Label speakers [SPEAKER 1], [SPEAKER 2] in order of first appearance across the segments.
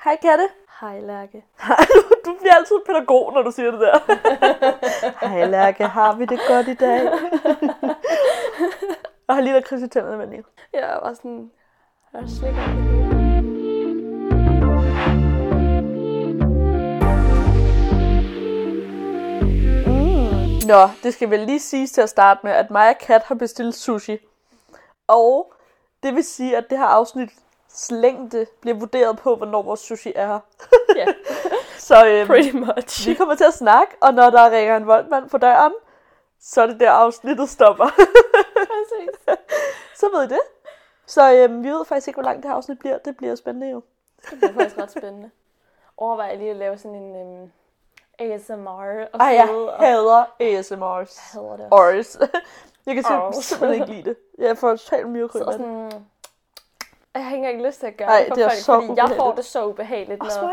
[SPEAKER 1] Hej Katte.
[SPEAKER 2] Hej Lærke.
[SPEAKER 1] Du bliver altid pædagog, når du siger det der. Hej Lærke, har vi det godt i dag? Jeg har lige været kridset i tænderne, men lige.
[SPEAKER 2] Jeg var sådan... Jeg slikker det hele.
[SPEAKER 1] Mm. Nå, det skal vel lige siges til at starte med, at mig og Kat har bestilt sushi. Og det vil sige, at det her afsnit længde bliver vurderet på, hvornår vores sushi er her.
[SPEAKER 2] Ja,
[SPEAKER 1] Så øhm,
[SPEAKER 2] pretty much.
[SPEAKER 1] vi kommer til at snakke, og når der ringer en voldmand på døren, så er det der afsnittet stopper.
[SPEAKER 2] Præcis.
[SPEAKER 1] så ved I det. Så øhm, vi ved faktisk ikke, hvor langt det her afsnit bliver. Det bliver spændende jo.
[SPEAKER 2] Det bliver faktisk ret spændende. Overvej lige at lave sådan en øhm, ASMR og
[SPEAKER 1] Ej, jeg
[SPEAKER 2] sidde og
[SPEAKER 1] hader ASMRs.
[SPEAKER 2] hader det. også.
[SPEAKER 1] Ors. Jeg kan sim-
[SPEAKER 2] Ors.
[SPEAKER 1] simpelthen ikke lide det. Jeg får totalt myrkryb
[SPEAKER 2] Så
[SPEAKER 1] af det.
[SPEAKER 2] sådan... Ej, Jeg har ikke engang lyst til at gøre
[SPEAKER 1] Ej,
[SPEAKER 2] det for
[SPEAKER 1] det er
[SPEAKER 2] folk,
[SPEAKER 1] så
[SPEAKER 2] fordi jeg får
[SPEAKER 1] ubehageligt.
[SPEAKER 2] det så ubehageligt,
[SPEAKER 1] Også
[SPEAKER 2] når...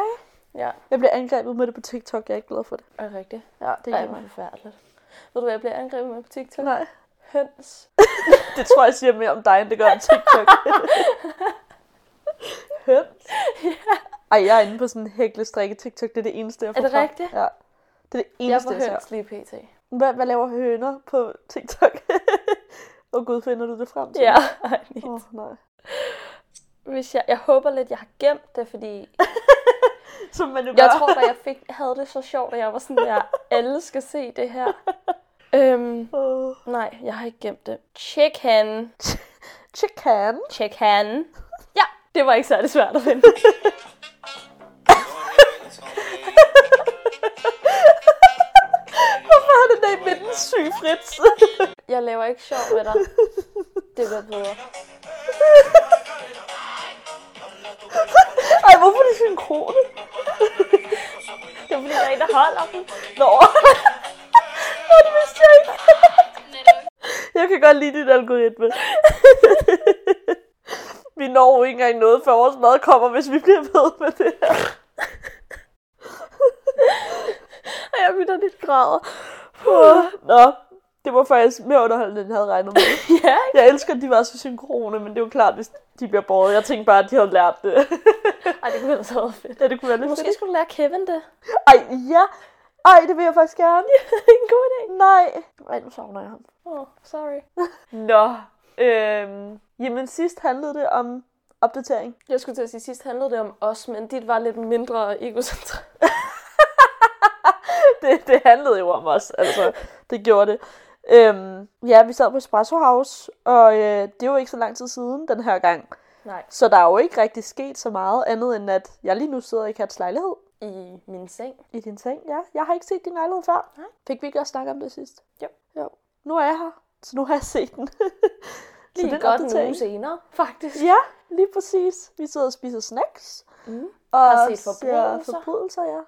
[SPEAKER 1] mig.
[SPEAKER 2] Ja,
[SPEAKER 1] Jeg bliver angrebet med det på TikTok. Jeg er ikke glad for det.
[SPEAKER 2] er rigtigt.
[SPEAKER 1] Ja, det
[SPEAKER 2] Det er mig. forfærdeligt. Ved du, hvad jeg bliver angrebet med på TikTok?
[SPEAKER 1] Nej.
[SPEAKER 2] Høns.
[SPEAKER 1] Det tror jeg siger mere om dig, end det gør om TikTok. Høns. Ej, jeg er inde på sådan en hæklestrikke TikTok. Det er det eneste, jeg får
[SPEAKER 2] Er det
[SPEAKER 1] frem.
[SPEAKER 2] rigtigt?
[SPEAKER 1] Ja. Det er det
[SPEAKER 2] Jeg
[SPEAKER 1] eneste,
[SPEAKER 2] får
[SPEAKER 1] jeg, jeg ser.
[SPEAKER 2] høns lige pt.
[SPEAKER 1] Hvad, hvad laver høner på TikTok? Åh oh, gud, finder du det frem til?
[SPEAKER 2] Ja, ej, lige
[SPEAKER 1] Åh, oh, nej.
[SPEAKER 2] Hvis jeg, jeg håber lidt, jeg har gemt det, fordi
[SPEAKER 1] Som man jo
[SPEAKER 2] jeg
[SPEAKER 1] gør.
[SPEAKER 2] tror, at jeg fik, havde det så sjovt, at jeg var sådan, at alle skal se det her. øhm,
[SPEAKER 1] Åh.
[SPEAKER 2] nej, jeg har ikke gemt det. Chicken.
[SPEAKER 1] Chicken.
[SPEAKER 2] Chicken. Ja, det var ikke særlig svært at finde.
[SPEAKER 1] Hvorfor har den der i midten syg Fritz?
[SPEAKER 2] Jeg laver ikke sjov med dig. Det bliver bedre.
[SPEAKER 1] Ej, hvorfor er det synkrone?
[SPEAKER 2] Det er fordi, der er en, der holder dem.
[SPEAKER 1] Nå. Nå, det vidste jeg ikke. Jeg kan godt lide dit algoritme. Vi når jo ikke engang noget, før vores mad kommer, hvis vi bliver ved med det her.
[SPEAKER 2] Og jeg bytter lidt grader.
[SPEAKER 1] Åh, Nå, det var faktisk mere underholdende, end jeg havde regnet med.
[SPEAKER 2] ja, ikke?
[SPEAKER 1] Jeg elsker, at de var så synkrone, men det er jo klart, hvis de bliver båret. Jeg tænkte bare, at de havde lært det.
[SPEAKER 2] Ej, det kunne ellers have været fedt.
[SPEAKER 1] ja, det kunne være lidt
[SPEAKER 2] Måske
[SPEAKER 1] fedt.
[SPEAKER 2] skulle du lære Kevin det.
[SPEAKER 1] Ej, ja. Ej, det vil jeg faktisk gerne.
[SPEAKER 2] en god idé.
[SPEAKER 1] Nej. Ej, nu savner jeg ham.
[SPEAKER 2] Oh, sorry.
[SPEAKER 1] Nå, øhm, jamen sidst handlede det om opdatering.
[SPEAKER 2] Jeg skulle til at sige, sidst handlede det om os, men dit var lidt mindre egocentrisk.
[SPEAKER 1] Det, det handlede jo om os, altså det gjorde det. Øhm, ja, vi sad på Espresso House, og øh, det er jo ikke så lang tid siden den her gang.
[SPEAKER 2] Nej.
[SPEAKER 1] Så der er jo ikke rigtig sket så meget andet, end at jeg lige nu sidder i Kats lejlighed.
[SPEAKER 2] I min seng.
[SPEAKER 1] I din seng, ja. Jeg har ikke set din lejlighed før.
[SPEAKER 2] Nej.
[SPEAKER 1] Fik vi ikke også snakke om det sidst?
[SPEAKER 2] Jo.
[SPEAKER 1] jo. Nu er jeg her, så nu har jeg set den. så
[SPEAKER 2] Lige
[SPEAKER 1] det er en
[SPEAKER 2] godt en
[SPEAKER 1] opdatering.
[SPEAKER 2] uge senere, faktisk.
[SPEAKER 1] Ja, lige præcis. Vi sidder og spiser snacks.
[SPEAKER 2] Mm.
[SPEAKER 1] Og
[SPEAKER 2] Har set
[SPEAKER 1] ser
[SPEAKER 2] forbrydelser.
[SPEAKER 1] forbrydelser, ja.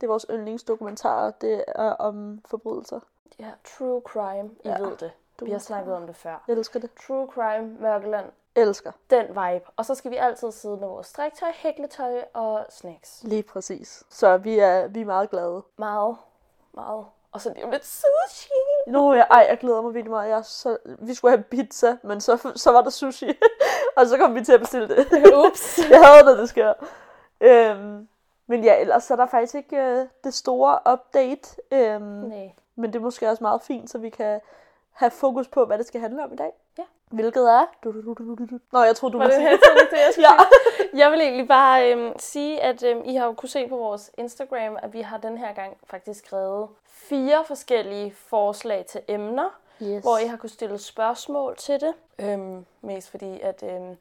[SPEAKER 1] Det er vores yndlingsdokumentarer, det er om forbrydelser.
[SPEAKER 2] ja. True crime, I
[SPEAKER 1] Ja.
[SPEAKER 2] ja. ved det. Vi har snakket om det før.
[SPEAKER 1] Jeg elsker det.
[SPEAKER 2] True crime, Mørkeland,
[SPEAKER 1] Elsker.
[SPEAKER 2] den vibe. Og så skal vi altid sidde med vores striktøj, hækletøj og snacks.
[SPEAKER 1] Lige præcis. Så vi er, vi er meget glade.
[SPEAKER 2] Meget, meget. Og så lige om lidt sushi.
[SPEAKER 1] Nå, jeg, ej, jeg glæder mig virkelig meget. Jeg er så, vi skulle have pizza, men så, så var der sushi. og så kom vi til at bestille det.
[SPEAKER 2] Ups.
[SPEAKER 1] jeg hader, når det sker. Øhm, men ja, ellers så er der faktisk ikke øh, det store update. Øhm,
[SPEAKER 2] Nej.
[SPEAKER 1] Men det er måske også meget fint, så vi kan have fokus på, hvad det skal handle om i dag.
[SPEAKER 2] Ja.
[SPEAKER 1] Hvilket er... Du, du, du, du, du, du. Nå, jeg tror du
[SPEAKER 2] Var
[SPEAKER 1] må
[SPEAKER 2] det
[SPEAKER 1] sige
[SPEAKER 2] helt sådan, det, jeg skulle
[SPEAKER 1] Ja.
[SPEAKER 2] sige? Jeg vil egentlig bare øhm, sige, at øhm, I har jo kunne se på vores Instagram, at vi har den her gang faktisk skrevet fire forskellige forslag til emner.
[SPEAKER 1] Yes.
[SPEAKER 2] hvor I har kunne stille spørgsmål til det. Øhm, mest fordi, at øhm,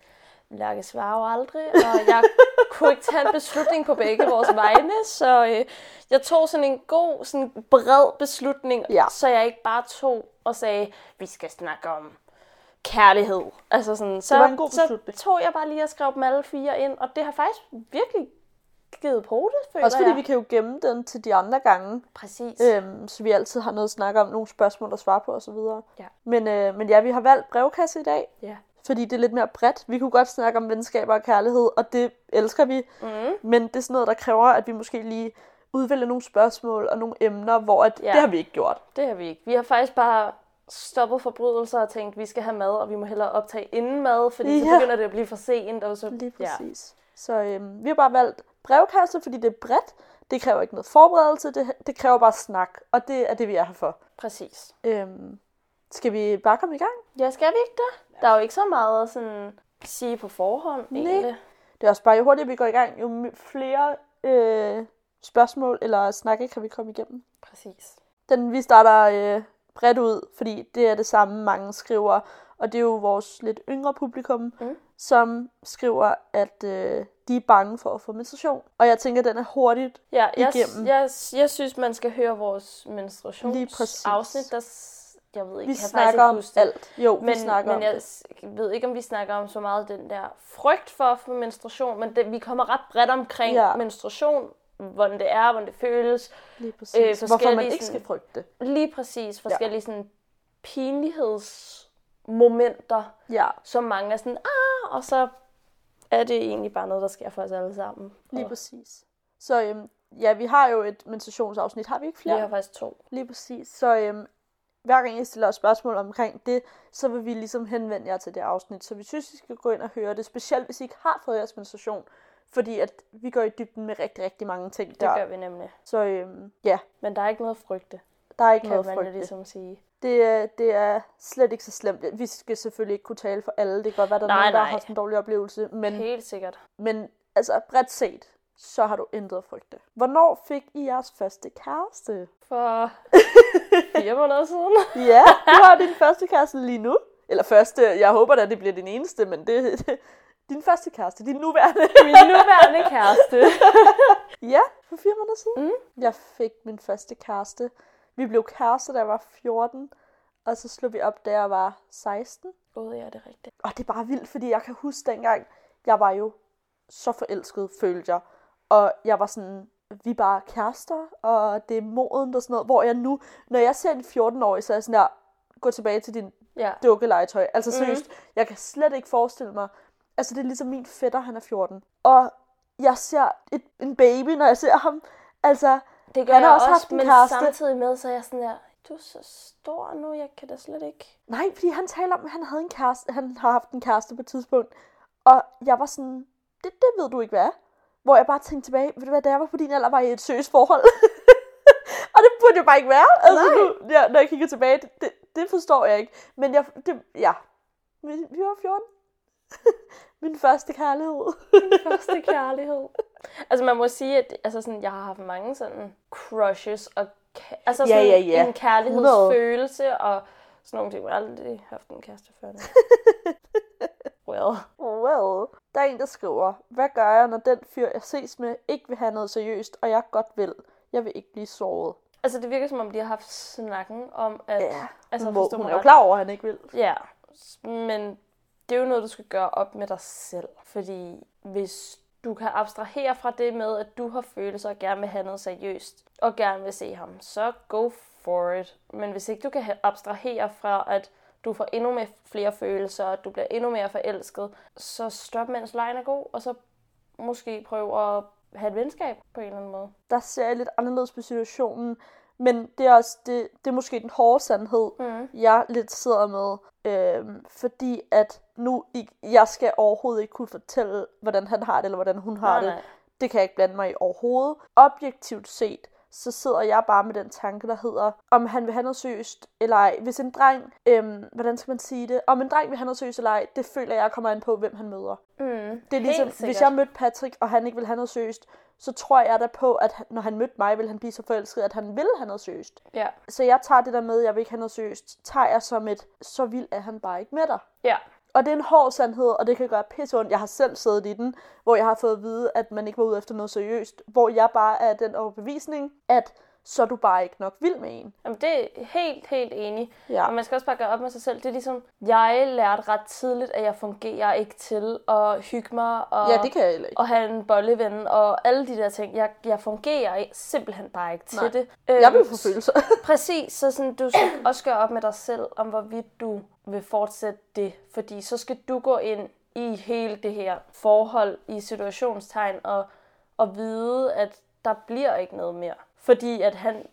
[SPEAKER 2] Lærke svarer jo aldrig, og jeg kunne ikke tage en beslutning på begge vores vegne, så øh, jeg tog sådan en god, sådan bred beslutning,
[SPEAKER 1] Ja.
[SPEAKER 2] så jeg ikke bare tog og sagde, vi skal snakke om kærlighed. Altså sådan, så,
[SPEAKER 1] Det var en god beslutning.
[SPEAKER 2] så tog jeg bare lige og skrev dem alle fire ind, og det har faktisk virkelig givet på det, føler
[SPEAKER 1] Også fordi
[SPEAKER 2] jeg.
[SPEAKER 1] vi kan jo gemme den til de andre gange,
[SPEAKER 2] Præcis.
[SPEAKER 1] øhm, så vi altid har noget at snakke om, nogle spørgsmål at svare på osv.
[SPEAKER 2] Ja.
[SPEAKER 1] Men, øh, men ja, vi har valgt brevkasse i dag,
[SPEAKER 2] Ja.
[SPEAKER 1] fordi det er lidt mere bredt. Vi kunne godt snakke om venskaber og kærlighed, og det elsker vi.
[SPEAKER 2] Mm.
[SPEAKER 1] Men det er sådan noget, der kræver, at vi måske lige udvælger nogle spørgsmål og nogle emner, hvor at,
[SPEAKER 2] Ja.
[SPEAKER 1] det har vi ikke gjort.
[SPEAKER 2] Det har vi ikke. Vi har faktisk bare stoppet forbrydelser og tænkt, vi skal have mad, og vi må hellere optage inden mad, fordi ja.
[SPEAKER 1] Ja.
[SPEAKER 2] så begynder det at blive for sent. Og så,
[SPEAKER 1] Lige præcis. Ja. Så øhm, vi har bare valgt brevkasse, fordi det er bredt. Det kræver ikke noget forberedelse, det, det kræver bare snak, og det er det, vi er her for.
[SPEAKER 2] Præcis.
[SPEAKER 1] Øhm, skal vi bare komme i gang?
[SPEAKER 2] Ja, skal vi ikke det? Der er jo ikke så meget at sådan, sige på forhånd,
[SPEAKER 1] Nej.
[SPEAKER 2] egentlig.
[SPEAKER 1] Det er også bare, jo hurtigere vi går i gang, jo m- flere øh, spørgsmål eller snakke kan vi komme igennem.
[SPEAKER 2] Præcis.
[SPEAKER 1] Den, vi starter øh, bredt ud, fordi det er det samme, mange skriver. Og det er jo vores lidt yngre publikum,
[SPEAKER 2] Mm.
[SPEAKER 1] mm. som skriver, at øh, de er bange for at få menstruation. Og jeg tænker, den er hurtigt.
[SPEAKER 2] Ja, jeg,
[SPEAKER 1] Igennem.
[SPEAKER 2] jeg, jeg synes, man skal høre vores menstruationsafsnit, der... s- Jeg ved ikke,
[SPEAKER 1] Vi
[SPEAKER 2] jeg kan faktisk
[SPEAKER 1] snakker
[SPEAKER 2] ikke
[SPEAKER 1] om
[SPEAKER 2] huske det.
[SPEAKER 1] alt. Jo,
[SPEAKER 2] Men,
[SPEAKER 1] vi snakker
[SPEAKER 2] men
[SPEAKER 1] om
[SPEAKER 2] jeg
[SPEAKER 1] det.
[SPEAKER 2] s- ved ikke, om vi snakker om så meget den der frygt for at få menstruation, men det, vi kommer ret bredt omkring ja.
[SPEAKER 1] Ja.
[SPEAKER 2] menstruation, hvordan det er, hvordan det føles.
[SPEAKER 1] Lige
[SPEAKER 2] øh,
[SPEAKER 1] præcis. Øh, Hvorfor man
[SPEAKER 2] forskellige
[SPEAKER 1] ikke skal
[SPEAKER 2] sådan-
[SPEAKER 1] frygte det.
[SPEAKER 2] Lige præcis forskellige ja. sådan, pinlighedsmomenter,
[SPEAKER 1] Ja,
[SPEAKER 2] som mange er sådan, ah, og så er det egentlig bare noget, der sker for os alle sammen.
[SPEAKER 1] lige
[SPEAKER 2] og
[SPEAKER 1] præcis. Så øhm, ja, vi har jo et menstruationsafsnit. Har vi ikke flere?
[SPEAKER 2] vi har faktisk to.
[SPEAKER 1] Lige præcis. Så øhm, hver gang I stiller os spørgsmål omkring det, så vil vi ligesom henvende jer til det afsnit. Så vi synes, I skal gå ind og høre det, specielt hvis I ikke har fået jeres menstruation. Fordi at vi går i dybden med rigtig, rigtig mange ting
[SPEAKER 2] Det ja.
[SPEAKER 1] der.
[SPEAKER 2] gør vi nemlig.
[SPEAKER 1] Så øhm, ja,
[SPEAKER 2] Men der er ikke noget at frygte,
[SPEAKER 1] der er ikke
[SPEAKER 2] kan
[SPEAKER 1] noget
[SPEAKER 2] man
[SPEAKER 1] at
[SPEAKER 2] frygte.
[SPEAKER 1] frygte.
[SPEAKER 2] ligesom sige.
[SPEAKER 1] Det, er- det er slet ikke så slemt. Vi skal selvfølgelig ikke kunne tale for alle. Det kan godt være, der er
[SPEAKER 2] Nej,
[SPEAKER 1] nogen, der
[SPEAKER 2] nej.
[SPEAKER 1] har haft en dårlig oplevelse. Men,
[SPEAKER 2] Helt sikkert.
[SPEAKER 1] men altså bredt set, så har du intet at frygte. Hvornår fik I jeres første kæreste?
[SPEAKER 2] For fire måneder siden.
[SPEAKER 1] Ja, du har din første kæreste lige nu. Eller første, jeg håber da, det bliver din eneste, men det, din første kæreste, din nuværende.
[SPEAKER 2] Min nuværende kæreste.
[SPEAKER 1] Ja, for fire måneder siden. Mm. Jeg fik min første kæreste. Vi blev kærester, da jeg var 14, og så slog vi op, da jeg var 16.
[SPEAKER 2] Både jeg er det rigtigt.
[SPEAKER 1] Og det er bare vildt, fordi jeg kan huske dengang, jeg var jo så forelsket, følte jeg. Og jeg var sådan, vi er bare kærester, og det er moden og sådan noget. Hvor jeg nu, når jeg ser en 14-årig, så er jeg sådan der, gå tilbage til din
[SPEAKER 2] Ja.
[SPEAKER 1] dukkelegetøj. Altså
[SPEAKER 2] Mhm.
[SPEAKER 1] seriøst, jeg kan slet ikke forestille mig. Altså det er ligesom min fætter, han er 14. Og jeg ser et, en baby, når jeg ser ham. Altså,
[SPEAKER 2] Det gør
[SPEAKER 1] Han har
[SPEAKER 2] jeg
[SPEAKER 1] også
[SPEAKER 2] også,
[SPEAKER 1] haft en
[SPEAKER 2] men
[SPEAKER 1] kæreste.
[SPEAKER 2] samtidig med, så er jeg sådan der, du er så stor nu, jeg kan da slet ikke.
[SPEAKER 1] nej, fordi han taler om, at han, havde en kæreste, han har haft en kæreste på et tidspunkt. Og jeg var sådan, det, det ved du ikke hvad. er." Hvor jeg bare tænkte tilbage, ved du hvad, da jeg var på din alder, var jeg i et seriøst forhold. og det burde jo bare ikke være. Altså,
[SPEAKER 2] Nej.
[SPEAKER 1] nu, ja, når jeg kigger tilbage, det, det, det forstår jeg ikke. Men jeg, det, ja, vi, vi var 14. Min første kærlighed.
[SPEAKER 2] Første kærlighed. altså man må sige, at altså sådan, jeg har haft mange sådan crushes og ka- altså
[SPEAKER 1] Ja,
[SPEAKER 2] sådan
[SPEAKER 1] ja, ja.
[SPEAKER 2] en kærlighedsfølelse og sådan nogle ting. Jeg har aldrig haft en kæreste før. nu. well.
[SPEAKER 1] Well. Der er en, der skriver, hvad gør jeg, når den fyr, jeg ses med, ikke vil have noget seriøst, og jeg godt vil? Jeg vil ikke blive såret.
[SPEAKER 2] Altså det virker som om, de har haft snakken om, at...
[SPEAKER 1] Ja,
[SPEAKER 2] altså,
[SPEAKER 1] Hvor
[SPEAKER 2] forstå
[SPEAKER 1] hun
[SPEAKER 2] mig
[SPEAKER 1] er jo
[SPEAKER 2] ret.
[SPEAKER 1] klar over, at han ikke vil.
[SPEAKER 2] Ja, men det er jo noget, du skal gøre op med dig selv. Fordi hvis du kan abstrahere fra det med, at du har følelser og gerne vil have noget seriøst, og gerne vil se ham, så go for it. Men hvis ikke du kan ha- abstrahere fra, at du får endnu mere flere følelser, og at du bliver endnu mere forelsket, så stop, mens lejen er god, og så måske prøv at have et venskab på en eller anden måde.
[SPEAKER 1] Der ser jeg lidt anderledes på situationen, men det er, også, det, det er måske den hårde sandhed,
[SPEAKER 2] Mm.
[SPEAKER 1] jeg lidt sidder med. Øhm, fordi at nu, ikke- jeg skal overhovedet ikke kunne fortælle, hvordan han har det, eller hvordan hun har
[SPEAKER 2] Nej,
[SPEAKER 1] det.
[SPEAKER 2] nej.
[SPEAKER 1] Det kan jeg ikke blande mig i overhovedet. Objektivt set, så sidder jeg bare med den tanke, der hedder, om han vil have noget seriøst eller ej. Hvis en dreng, øhm, hvordan skal man sige det? Om en dreng vil have noget seriøst eller ej, det føler jeg kommer an på, hvem han møder.
[SPEAKER 2] Mm.
[SPEAKER 1] Det er ligesom, hvis jeg mødte Patrick, og han ikke vil have noget seriøst, så tror jeg da på, at han- når han mødte mig, vil han blive så forelsket, at han vil have noget seriøst.
[SPEAKER 2] Ja,
[SPEAKER 1] Så jeg tager det der med, at jeg vil ikke have noget seriøst, tager jeg som et, så vild er han bare ikke med dig.
[SPEAKER 2] ja.
[SPEAKER 1] Og det er en hård sandhed, og det kan gøre pisse ondt. Jeg har selv siddet i den, hvor jeg har fået at vide, at man ikke var ude efter noget seriøst. Hvor jeg bare er af den overbevisning, at så er du bare ikke nok vild med en.
[SPEAKER 2] Jamen, det er helt, helt enig.
[SPEAKER 1] Ja.
[SPEAKER 2] Og man skal også bare gøre op med sig selv. Det er ligesom, jeg lærte ret tidligt, at jeg fungerer ikke til at hygge mig og,
[SPEAKER 1] kan jeg heller
[SPEAKER 2] og have en bolleven og alle de der ting. Jeg, jeg fungerer i- simpelthen bare ikke til
[SPEAKER 1] Nej.
[SPEAKER 2] det.
[SPEAKER 1] Jeg vil
[SPEAKER 2] Øhm,
[SPEAKER 1] få følelser.
[SPEAKER 2] Præcis, så sådan, du skal også gøre op med dig selv, om hvorvidt du vil fortsætte det. Fordi så skal du gå ind i hele det her forhold i situationstegn og, og vide, at der bliver ikke noget mere. Fordi at han,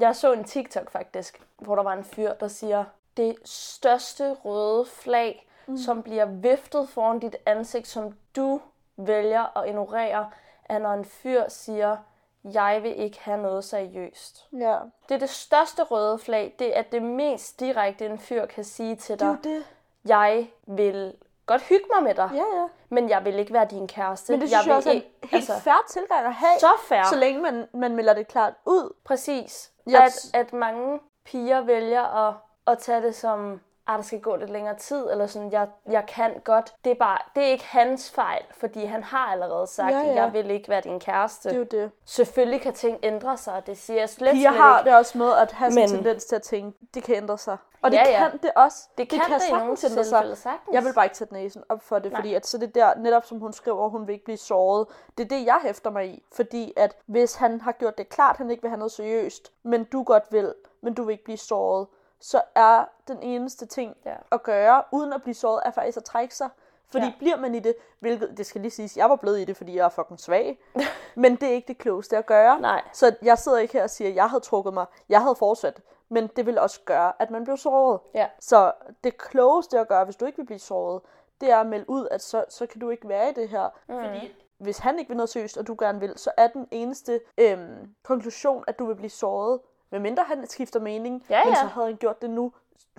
[SPEAKER 2] jeg så en TikTok faktisk, hvor der var en fyr, der siger, det største røde flag, mm. som bliver viftet foran dit ansigt, som du vælger at ignorere, er, når en fyr siger, jeg vil ikke have noget seriøst.
[SPEAKER 1] Ja.
[SPEAKER 2] Det er det største røde flag, det er det mest direkte, en fyr kan sige til
[SPEAKER 1] Det er
[SPEAKER 2] dig.
[SPEAKER 1] jo det.
[SPEAKER 2] Jeg vil godt hygge mig med dig,
[SPEAKER 1] Ja, ja.
[SPEAKER 2] men jeg vil ikke være din kæreste.
[SPEAKER 1] Men det synes jeg,
[SPEAKER 2] vil
[SPEAKER 1] også er en helt altså, færre tilgang at have,
[SPEAKER 2] så fair.
[SPEAKER 1] så længe man, man melder det klart ud.
[SPEAKER 2] Præcis.
[SPEAKER 1] Jeg
[SPEAKER 2] At, at mange piger vælger at, at tage det som, at der skal gå lidt længere tid, eller sådan, jeg, jeg kan godt. Det er, bare, det er ikke hans fejl, fordi han har allerede sagt,
[SPEAKER 1] Ja,
[SPEAKER 2] ja,
[SPEAKER 1] ja.
[SPEAKER 2] ja. jeg vil ikke være din kæreste.
[SPEAKER 1] Det er jo det.
[SPEAKER 2] Selvfølgelig kan ting ændre sig, og det siger jeg slet,
[SPEAKER 1] Piger
[SPEAKER 2] slet
[SPEAKER 1] har
[SPEAKER 2] ikke.
[SPEAKER 1] det også med at have sådan en
[SPEAKER 2] Men-
[SPEAKER 1] tendens til at tænke, det kan ændre sig. Og det
[SPEAKER 2] Ja, ja.
[SPEAKER 1] kan det også.
[SPEAKER 2] Det kan det, i nogle tilfælde sagtens.
[SPEAKER 1] Jeg vil bare ikke sætte næsen op for det,
[SPEAKER 2] Nej.
[SPEAKER 1] fordi at, så det der, netop som hun skriver, hun vil ikke blive såret. Det er det, jeg hæfter mig i. Fordi at hvis han har gjort det klart, han ikke vil have noget seriøst, men du godt vil, men du vil ikke blive såret, så er den eneste ting
[SPEAKER 2] Ja.
[SPEAKER 1] at gøre, uden at blive såret, er faktisk at trække sig. Fordi ja.
[SPEAKER 2] Ja.
[SPEAKER 1] bliver man i det, hvilket, det skal lige siges, jeg var blevet i det, fordi jeg er fucking svag. men det er ikke det klogeste at gøre.
[SPEAKER 2] Nej.
[SPEAKER 1] Så jeg sidder ikke her og siger, at jeg havde trukket mig, jeg havde fortsat. Men det vil også gøre, at man blev såret.
[SPEAKER 2] Ja.
[SPEAKER 1] Så det klogeste at gøre, hvis du ikke vil blive såret, det er at melde ud, at så, så kan du ikke være i det her. Mm. Fordi hvis han ikke vil noget seriøst, og du gerne vil, så er den eneste øhm, konklusion, at du vil blive såret. Medmindre han skifter mening,
[SPEAKER 2] Ja,
[SPEAKER 1] men
[SPEAKER 2] ja.
[SPEAKER 1] så havde han gjort det nu,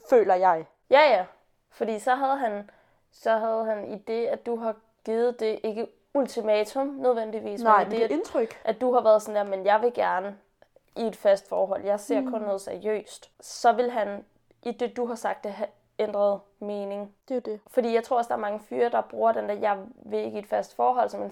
[SPEAKER 1] føler jeg.
[SPEAKER 2] Ja, ja. Fordi så havde han, så havde han i det, at du har givet det ikke ultimatum nødvendigvis,
[SPEAKER 1] Nej,
[SPEAKER 2] men
[SPEAKER 1] men
[SPEAKER 2] i
[SPEAKER 1] det er
[SPEAKER 2] det,
[SPEAKER 1] et indtryk.
[SPEAKER 2] at du har været sådan der, men jeg vil gerne i et fast forhold, jeg ser mm. kun noget seriøst, så vil han i det, du har sagt, det have ændret mening.
[SPEAKER 1] Det er jo det.
[SPEAKER 2] Fordi jeg tror også, der er mange fyre, der bruger den der, jeg vil ikke i et fast forhold, som en